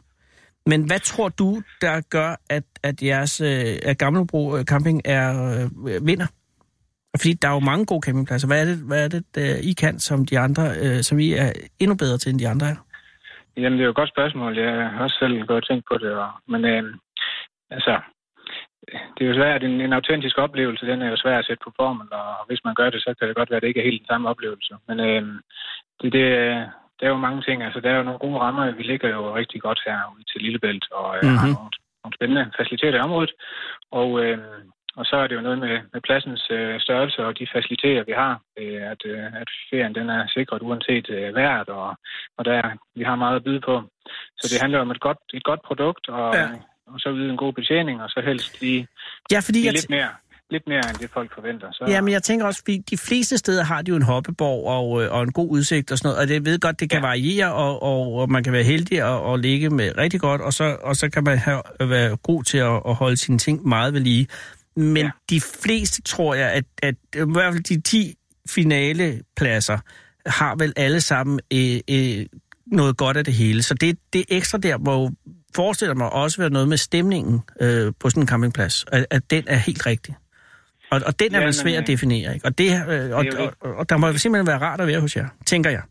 S3: Men hvad tror du, der gør, at, at jeres øh, at Gamlebro øh, Camping er øh, vinder? Fordi der er jo mange gode campingpladser. Hvad er det, hvad er det øh, I kan, som de andre, øh, som I er endnu bedre til, end de andre er?
S8: Jamen, det er jo et godt spørgsmål. Jeg har også selv gået og tænkt på det. Og, men øh, altså, det er jo svært. En, en autentisk oplevelse, den er jo svær at sætte på formel, og hvis man gør det, så kan det godt være, at det ikke er helt den samme oplevelse. Men øh, det, det, øh, der er jo mange ting. Altså, der er jo nogle gode rammer. Vi ligger jo rigtig godt her ude til Lillebælt, og øh, mm-hmm. har
S3: Mhm.
S8: nogle, nogle spændende faciliteter i området. Og, øh, og så er det jo noget med, med pladsens øh, størrelse og de faciliteter, vi har. Øh, at, øh, at ferien den er sikret uanset øh, vejret, og, og der, vi har meget at byde på. Så det handler om et godt, et godt produkt, og,
S3: Ja.
S8: ja. og så yde en god betjening, og så helst lige,
S3: Ja, fordi
S8: lige
S3: jeg,
S8: lidt, mere, lidt mere end det, folk forventer. Så,
S3: Ja, men jeg tænker også, fordi de fleste steder har de jo en hoppeborg og, øh, og en god udsigt og sådan noget, og det ved godt, det kan ja.
S8: Ja.
S3: variere, og, og, og man kan være heldig og, og ligge med rigtig godt, og så, og så kan man have, øh, være god til at, at holde sine ting meget ved lige. Men ja.
S8: Ja.
S3: de fleste, tror jeg, at, at i hvert fald de 10 finalepladser har vel alle sammen øh, øh, noget godt af det hele. Så det, det ekstra der må jo, forestiller mig også være noget med stemningen øh, på sådan en campingplads, at, at den er helt rigtig. Og, og den er
S8: Ja,
S3: vel
S8: men,
S3: svær at
S8: øh,
S3: definere, ikke? Og, det, øh, og,
S8: det er jo
S3: og,
S8: ikke-
S3: og, og der må jo simpelthen være rart at være hos jer, tænker jeg.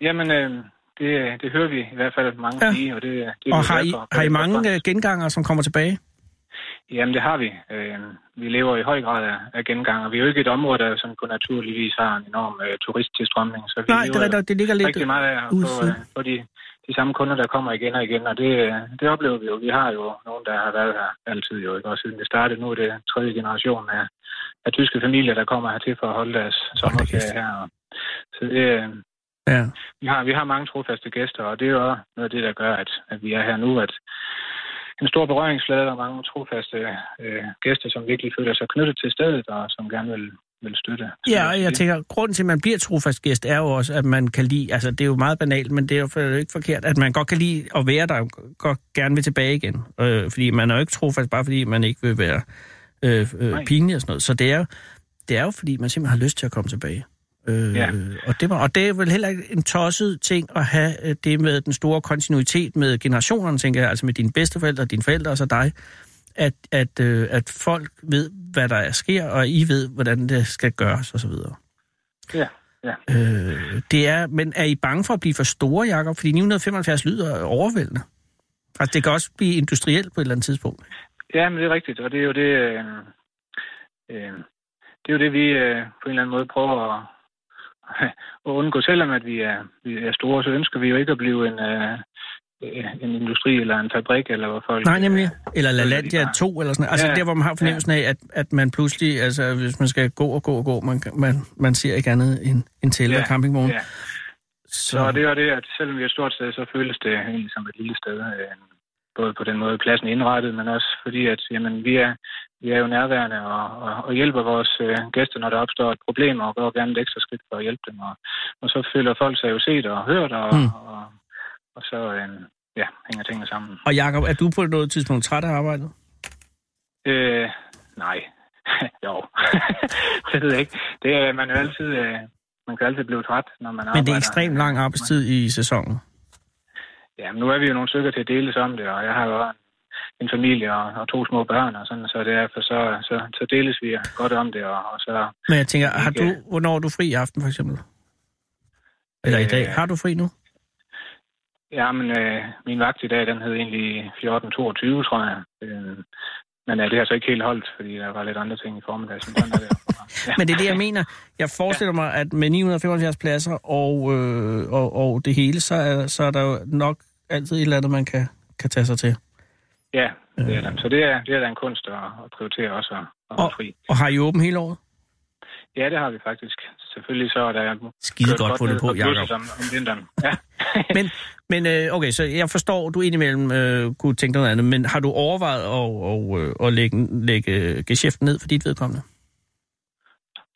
S8: Jamen, øh, det, det hører vi i hvert fald mange
S3: Ja.
S8: ja. sige, og det, det er vi
S3: Og
S8: glade
S3: har I,
S8: for.
S3: har I mange øh, genganger, som kommer tilbage?
S8: Jamen, det har vi. Øh, vi lever i høj grad af, af gengang, og vi er jo ikke et område, der sådan på naturlig vis har en enorm øh, turisttilstrømning. Så vi
S3: Nej, det,
S8: lever
S3: er
S8: jo
S3: rigtigt, det ligger lidt...
S8: rigtig meget af at
S3: ude
S8: få,
S3: i
S8: øh, få de, de samme kunder, der kommer igen og igen, og det, øh, det oplever vi jo. Vi har jo nogen, der har været her altid jo, ikke? og siden det startede, nu er det tredje generation af, af tyske familier, der kommer hertil for at holde deres sommerferie her. Og, så det, øh,
S3: Ja.
S8: vi, har, vi har mange trofaste gæster, og det er jo også noget af det, der gør, at, at vi er her nu, at en stor berøringsflade og mange trofaste øh, gæster, som virkelig føler sig knyttet til stedet, og som gerne vil, vil støtte.
S3: Ja, og jeg
S8: Det-
S3: tænker, grunden til, at man bliver trofast gæst, er jo også, at man kan lide, altså det er jo meget banalt, men det er jo for- det er jo ikke forkert, at man godt kan lide at være der, og godt gerne vil tilbage igen. Øh, fordi man er jo ikke trofast, bare fordi man ikke vil være øh, øh,
S8: Nej.
S3: pinlig og sådan noget. Så det er, jo- det er jo, fordi man simpelthen har lyst til at komme tilbage. Øh,
S8: Ja.
S3: og, det, må- og det er vel heller ikke en tosset ting at have øh, det med den store kontinuitet med generationerne, tænker jeg, altså med dine bedsteforældre, dine forældre og så dig, at, at, øh, at folk ved, hvad der er sker, og I ved, hvordan det skal gøres og så videre.
S8: Ja, ja.
S3: Øh, det er, men er I bange for at blive for store, Jacob? Fordi 975 lyder overvældende. Altså, det kan også blive industrielt på et eller andet tidspunkt.
S8: Ja, men det er rigtigt, og det er jo det, øh, øh, det, er jo det vi øh, på en eller anden måde prøver at, at [laughs] undgå. Selvom at vi er, vi er store, så ønsker vi jo ikke at blive en, øh, øh, en industri eller en fabrik, eller hvor folk...
S3: Nej, nemlig. Eller
S8: så er det
S3: LaLandia
S8: lige bare-
S3: 2 eller sådan noget. Altså ja,
S8: Ja,
S3: der, hvor man har fornemmelsen af, at, at man pludselig, altså hvis man skal gå og gå og gå, man, man, man ser ikke andet end, end tælle ja,
S8: Ja,
S3: campingvogn. Ja.
S8: øh, ja.
S3: Så,
S8: Så det er jo det, at selvom vi er et stort sted, så føles det egentlig som et lille sted. Øh, både på den måde pladsen er indrettet, men også fordi, at jamen, vi, er, vi er jo nærværende og, og, og hjælper vores øh, gæster, når der opstår et problem, og går gerne et ekstra skridt for at hjælpe dem. Og, og så føler folk sig jo set og hørt, og,
S3: Mm.
S8: mm. og, og, og så øh, ja, hænger tingene sammen.
S3: Og Jacob, er du på noget tidspunkt træt af arbejdet?
S8: Øh, nej. [laughs] jo. det ved jeg ikke. Det er man er jo altid... Øh, man kan altid blive træt, når man
S3: Men det
S8: arbejder.
S3: er ekstremt lang arbejdstid i sæsonen.
S8: Ja, men nu er vi jo nogle stykker til at deles om det, og jeg har jo en- en familie og, og to små børn og sådan, så derfor så, så, så deles vi godt om det, og, og så...
S3: Men jeg tænker, har
S8: Ja.
S3: du, hvornår er du fri i aften for eksempel? Eller i
S8: Øh,
S3: dag? Har du fri nu?
S8: Ja, men øh, min vagt i dag, den hed egentlig 1422, tror jeg. Øh, Men ja, det har så ikke helt holdt, fordi der var lidt andre ting i formiddag. Sådan er det. Ja.
S3: Men det er det, jeg mener. Jeg forestiller mig, at med 975 pladser og, øh, og, og det hele, så er, så er der jo nok altid et eller andet, man kan, kan tage sig til.
S8: Ja, det er det. Så det er, det er da en kunst at, at prioritere også at, at være fri.
S3: Og har I åben hele året?
S8: Ja, det har vi faktisk. Selvfølgelig så er der
S3: Skide
S8: kørt
S3: godt fundet
S8: ned
S3: på,
S8: busser
S3: Jacob.
S8: Om, om vinteren. Ja.
S3: Men, men øh, okay, så jeg forstår, du indimellem øh, kunne tænke dig noget andet, men har du overvejet at, og, øh, at lægge, lægge geschæften ned for dit vedkommende?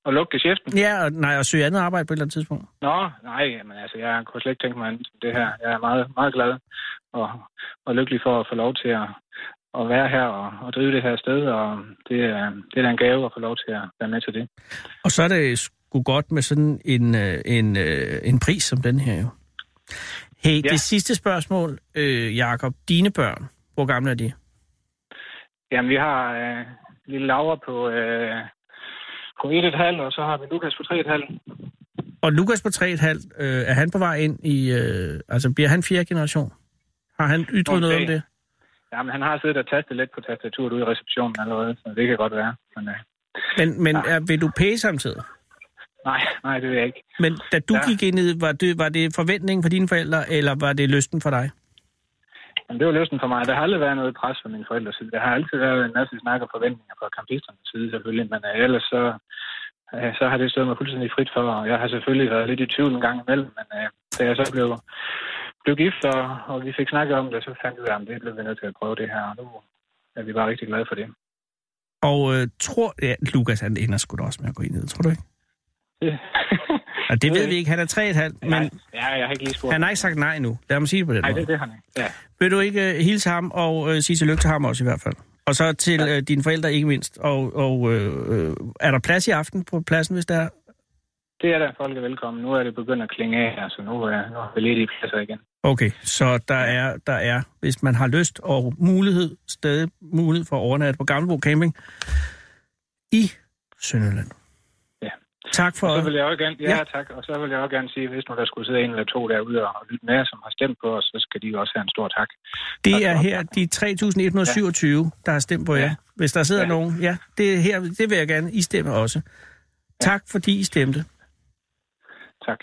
S8: Og lukke geschæften?
S3: Ja, og, nej, og søge andet arbejde på et eller andet tidspunkt.
S8: Nå, nej, men altså, jeg kunne slet ikke tænke mig andet end det her. Jeg er meget, meget glad og, og lykkelig for at få lov til at, at være her og, og drive det her sted, og det er, det er da en gave at få lov til at være med til det.
S3: Og så er det sgu godt med sådan en, øh, en, øh, en pris som den her jo. Hey, ja.
S8: Ja.
S3: det sidste spørgsmål, øh, Jakob. Dine børn, hvor gamle er de?
S8: Jamen, vi har øh, lille Laura på, øh, på 1,5, og så har vi Lukas på 3,5.
S3: Og Lukas på 3,5, øh, er han på vej ind i... Øh, altså, bliver han fjerde generation? Har han ytret okay.
S8: Okay.
S3: noget om det?
S8: Jamen, han har siddet og tastet lidt på tastaturet ude i receptionen allerede, så det kan godt være. Men, øh,
S3: Men, men er, vil du pæge samtidig?
S8: nej, nej, det vil jeg ikke.
S3: Men da du ja.
S8: Ja.
S3: gik ind i det, var det, var det forventningen for dine forældre, eller var det lysten for dig?
S8: Jamen, det var løsningen for mig. Der har aldrig været noget pres fra mine forældres side. Der har altid været en masse snak og forventninger fra kampisternes side, selvfølgelig. Men øh, ellers så, øh, så har det stået mig fuldstændig frit for. Og jeg har selvfølgelig været lidt i tvivl en gang imellem, men øh, da jeg så blev, blev gift, og, og vi fik snakket om det, så fandt vi ud af, at det blev vi nødt til at prøve det her. Og nu er vi bare rigtig glade for det.
S3: Og øh, tror... Ja, Lukas, han ender sgu da også med at gå ind i det, tror du ikke?
S8: [laughs] Det-
S3: Og det
S8: ved
S3: ved
S8: jeg
S3: vi ikke. Han er 3,5, men
S8: ja, jeg har ikke lige spurgt.
S3: han har ikke sagt nej nu. Lad mig sige det på den
S8: Nej,
S3: måde.
S8: det, det har han ikke. Ja.
S3: Vil du ikke øh, hilse ham og øh, sige tillykke til ham også i hvert fald? Og så til øh, dine forældre ikke mindst. Og, og øh, øh, er der plads i aften på pladsen, hvis der er?
S8: Det er der, folk er velkommen. Nu er det begyndt at klinge af her, så nu er, nu er vi lidt i pladser igen.
S3: Okay, så der er, der er, hvis man har lyst og mulighed, stadig mulighed for at overnatte på Gammelbo Camping i Sønderland.
S8: Ja.
S3: Tak for
S8: Og så
S3: det.
S8: vil jeg også gerne, ja,
S3: Ja.
S8: ja. tak. Og så vil jeg også gerne sige, hvis nu der skulle sidde en eller to derude og lytte med, som har stemt på os, så skal de også have en stor tak.
S3: Det er her de 3.127, der har stemt på jer.
S8: Ja.
S3: Hvis der sidder
S8: Ja.
S3: nogen, ja, det, er her, det vil jeg gerne. I stemme også. Tak fordi I stemte.
S8: Tak.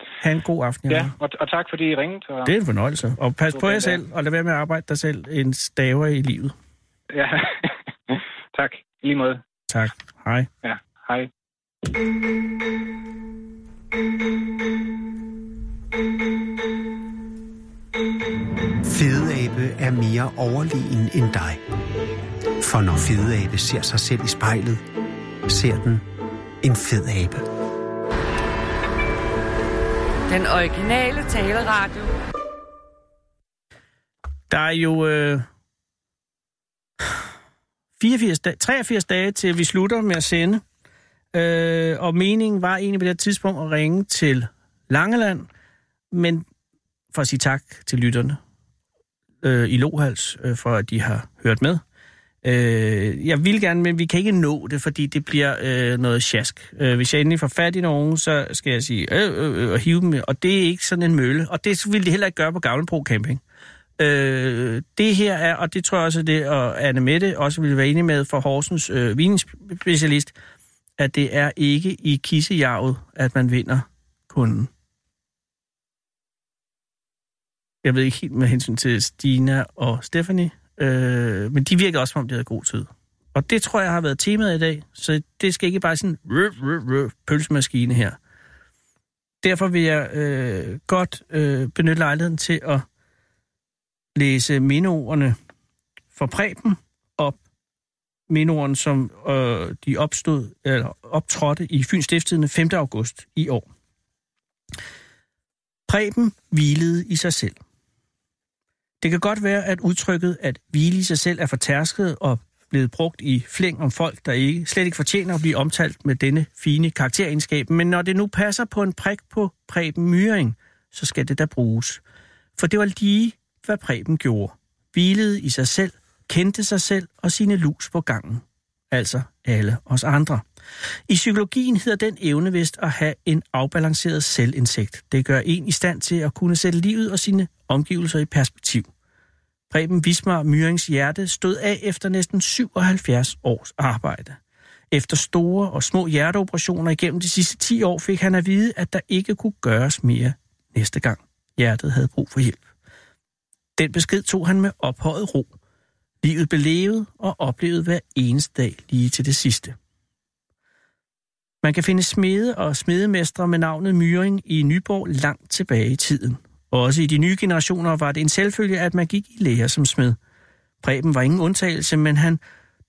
S3: Ha' en god aften.
S8: Ja,
S3: Jacob.
S8: og, og tak fordi I ringede. Og,
S3: Det er en fornøjelse. Og pas
S8: God
S3: på jer
S8: dag, ja.
S3: selv, og lad være med at arbejde dig selv en staver i livet.
S8: Ja. [laughs] tak. I lige måde.
S3: Tak. Hej.
S8: Ja, hej.
S1: Fedeabe er mere overlegen end dig. For når fedeabe ser sig selv i spejlet, ser den en fed abe.
S9: Den originale taleradio.
S3: Der er jo øh, 84 dage, 83 dage til, vi slutter med at sende. Øh, og meningen var egentlig på det her tidspunkt at ringe til Langeland, men for at sige tak til lytterne øh, i Lohals, øh, for at de har hørt med. Øh, jeg vil gerne, men vi kan ikke nå det, fordi det bliver øh, noget sjask. Øh, hvis jeg endelig får fat i nogen, så skal jeg sige, øh, øh, øh, og hive dem, med, og det er ikke sådan en mølle. Og det ville de heller ikke gøre på Gavlenbro Camping. Øh, det her er, og det tror jeg også, det og Anne Mette også ville være enig med for Horsens øh, vinspecialist, at det er ikke i kissejarvet, at man vinder kunden. Jeg ved ikke helt med hensyn til Stina og Stephanie, øh, men de virker også, som om de havde god tid. Og det tror jeg har været temaet i dag, så det skal ikke bare sådan røv, røv, røv, pølsemaskine her. Derfor vil jeg øh, godt øh, benytte lejligheden til at læse mindeordene for Preben op. Mindeordene, som øh, de opstod, eller optrådte i Fyns Stiftstidende 5. august i år. Preben hvilede i sig selv. Det kan godt være, at udtrykket at hvile i sig selv er fortærsket og blevet brugt i flæng om folk, der ikke, slet ikke fortjener at blive omtalt med denne fine karakteregenskab, men når det nu passer på en prik på Preben Myring, så skal det da bruges. For det var lige, hvad Preben gjorde. Hvilede i sig selv, kendte sig selv og sine lus på gangen. Altså alle os andre. I psykologien hedder den evne vist at have en afbalanceret selvindsigt. Det gør en i stand til at kunne sætte livet og sine omgivelser i perspektiv. Preben Vismar Myrings hjerte stod af efter næsten 77 års arbejde. Efter store og små hjerteoperationer igennem de sidste 10 år fik han at vide, at der ikke kunne gøres mere næste gang hjertet havde brug for hjælp. Den besked tog han med ophøjet ro. Livet blev levet og oplevet hver eneste dag lige til det sidste. Man kan finde smede og smedemestre med navnet Myring i Nyborg langt tilbage i tiden. Også i de nye generationer var det en selvfølge, at man gik i lære som smed. Preben var ingen undtagelse, men han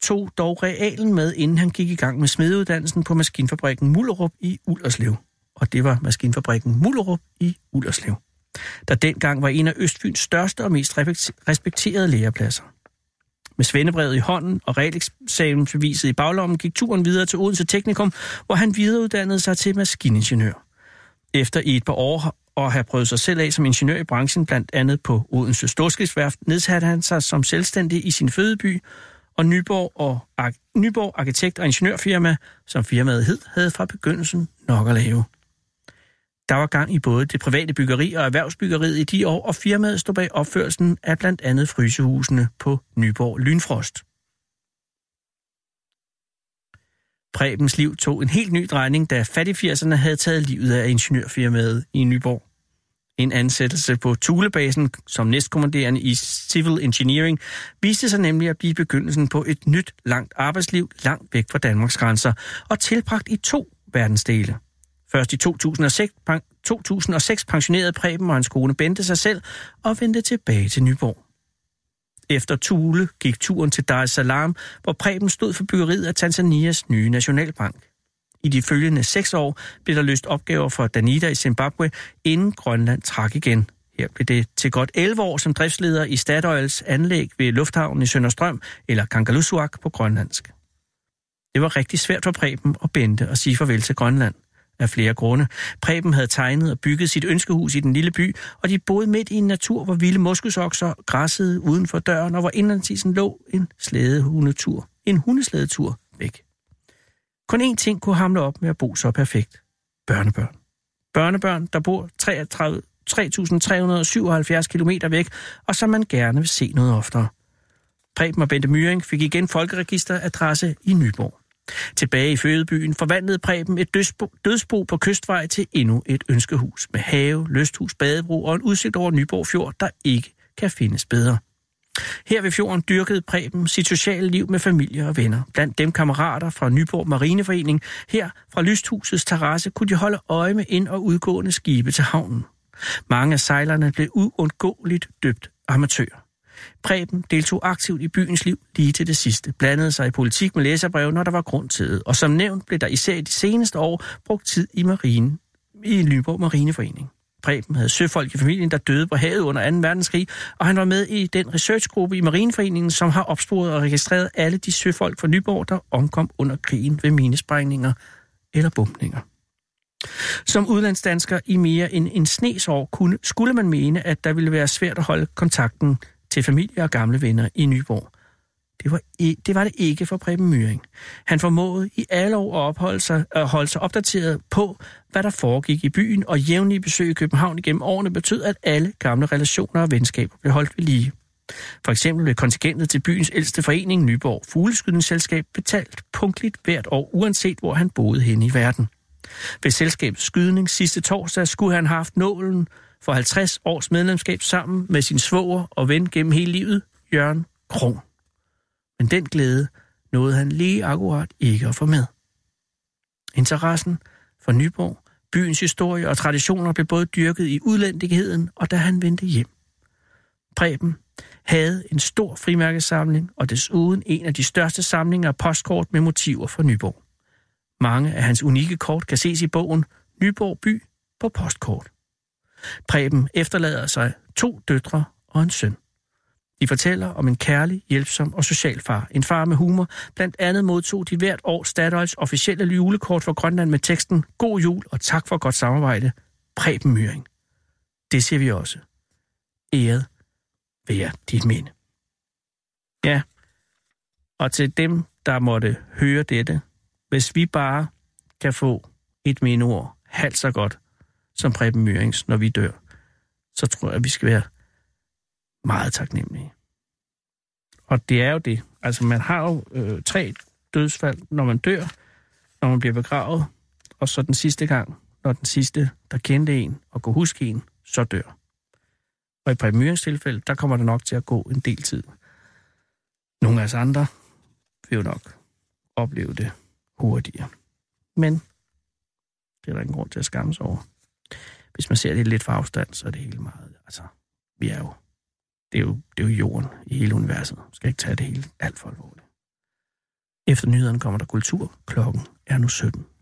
S3: tog dog realen med, inden han gik i gang med smedeuddannelsen på maskinfabrikken Mullerup i Ullerslev. Og det var maskinfabrikken Mullerup i Ullerslev, der dengang var en af Østfyns største og mest respekterede lærepladser. Med svendebrevet i hånden og regeleksamensbeviset i baglommen gik turen videre til Odense Teknikum, hvor han videreuddannede sig til maskiningeniør. Efter i et par år og have prøvet sig selv af som ingeniør i branchen, blandt andet på Odense Storskibsværft, nedsatte han sig som selvstændig i sin fødeby, og Nyborg, og Ar- Nyborg Arkitekt- og Ingeniørfirma, som firmaet hed, havde fra begyndelsen nok at lave. Der var gang i både det private byggeri og erhvervsbyggeriet i de år, og firmaet stod bag opførelsen af blandt andet frysehusene på Nyborg Lynfrost. Prebens liv tog en helt ny drejning, da fattigfirserne havde taget livet af ingeniørfirmaet i Nyborg. En ansættelse på Tulebasen som næstkommanderende i Civil Engineering viste sig nemlig at blive begyndelsen på et nyt, langt arbejdsliv langt væk fra Danmarks grænser og tilbragt i to verdensdele. Først i 2006, 2006 pensionerede Preben og hans kone Bente sig selv og vendte tilbage til Nyborg. Efter Tule gik turen til Dar es Salaam, hvor Preben stod for byggeriet af Tanzanias nye nationalbank. I de følgende seks år blev der løst opgaver for Danida i Zimbabwe, inden Grønland trak igen. Her blev det til godt 11 år som driftsleder i Statoils anlæg ved lufthavnen i Sønderstrøm, eller Kangalusuak på grønlandsk. Det var rigtig svært for Preben og Bente at sige farvel til Grønland af flere grunde. Preben havde tegnet og bygget sit ønskehus i den lille by, og de boede midt i en natur, hvor vilde moskusokser græssede uden for døren, og hvor indlandsisen lå en slædehundetur, en hundeslædetur væk. Kun én ting kunne hamle op med at bo så perfekt. Børnebørn. Børnebørn, der bor 33 3.377 km væk, og som man gerne vil se noget oftere. Preben og Bente Myring fik igen folkeregisteradresse i Nyborg. Tilbage i fødebyen forvandlede Preben et dødsbo, dødsbo på kystvej til endnu et ønskehus med have, lysthus, badebro og en udsigt over Nyborg Fjord, der ikke kan findes bedre. Her ved fjorden dyrkede Preben sit sociale liv med familie og venner. Blandt dem kammerater fra Nyborg Marineforening. Her fra lysthusets terrasse kunne de holde øje med ind- og udgående skibe til havnen. Mange af sejlerne blev uundgåeligt døbt amatører. Preben deltog aktivt i byens liv lige til det sidste, blandede sig i politik med læserbrev, når der var grund til det, og som nævnt blev der især i de seneste år brugt tid i marinen, i Nyborg Marineforening. Preben havde søfolk i familien, der døde på havet under 2. verdenskrig, og han var med i den researchgruppe i Marineforeningen, som har opsporet og registreret alle de søfolk fra Nyborg, der omkom under krigen ved minesprængninger eller bumpninger. Som udlandsdansker i mere end en snes år kunne, skulle man mene, at der ville være svært at holde kontakten til familie og gamle venner i Nyborg. Det var, i, det var det ikke for Preben Myring. Han formåede i alle år at, opholde sig, at holde sig opdateret på, hvad der foregik i byen, og jævnlige besøg i København igennem årene betød, at alle gamle relationer og venskaber blev holdt ved lige. For eksempel blev kontingentet til byens ældste forening, Nyborg Fugleskydningsselskab, betalt punktligt hvert år, uanset hvor han boede henne i verden. Ved selskabets skydning sidste torsdag skulle han have haft nålen, for 50 års medlemskab sammen med sin svoger og ven gennem hele livet, Jørgen Kron. Men den glæde nåede han lige akkurat ikke at få med. Interessen for Nyborg, byens historie og traditioner blev både dyrket i udlændigheden og da han vendte hjem. Preben havde en stor frimærkesamling og desuden en af de største samlinger af postkort med motiver fra Nyborg. Mange af hans unikke kort kan ses i bogen Nyborg by på postkort. Preben efterlader sig to døtre og en søn. De fortæller om en kærlig, hjælpsom og social far. En far med humor. Blandt andet modtog de hvert år Statoils officielle julekort for Grønland med teksten God jul og tak for godt samarbejde. Preben Myring. Det ser vi også. Æret være dit minde. Ja, og til dem, der måtte høre dette, hvis vi bare kan få et mindeord halvt så godt, som Preben Mørings, når vi dør, så tror jeg, at vi skal være meget taknemmelige. Og det er jo det. Altså, man har jo øh, tre dødsfald, når man dør, når man bliver begravet, og så den sidste gang, når den sidste, der kendte en og kunne huske en, så dør. Og i Preben Myrings tilfælde, der kommer det nok til at gå en del tid. Nogle af os andre vil jo nok opleve det hurtigere. Men det er der ingen grund til at skamme sig over. Hvis man ser det lidt fra afstand, så er det hele meget... Altså, vi er jo... Det er jo, det er jo jorden i hele universet. Man skal ikke tage det hele alt for alvorligt. Efter nyhederne kommer der kultur. Klokken er nu 17.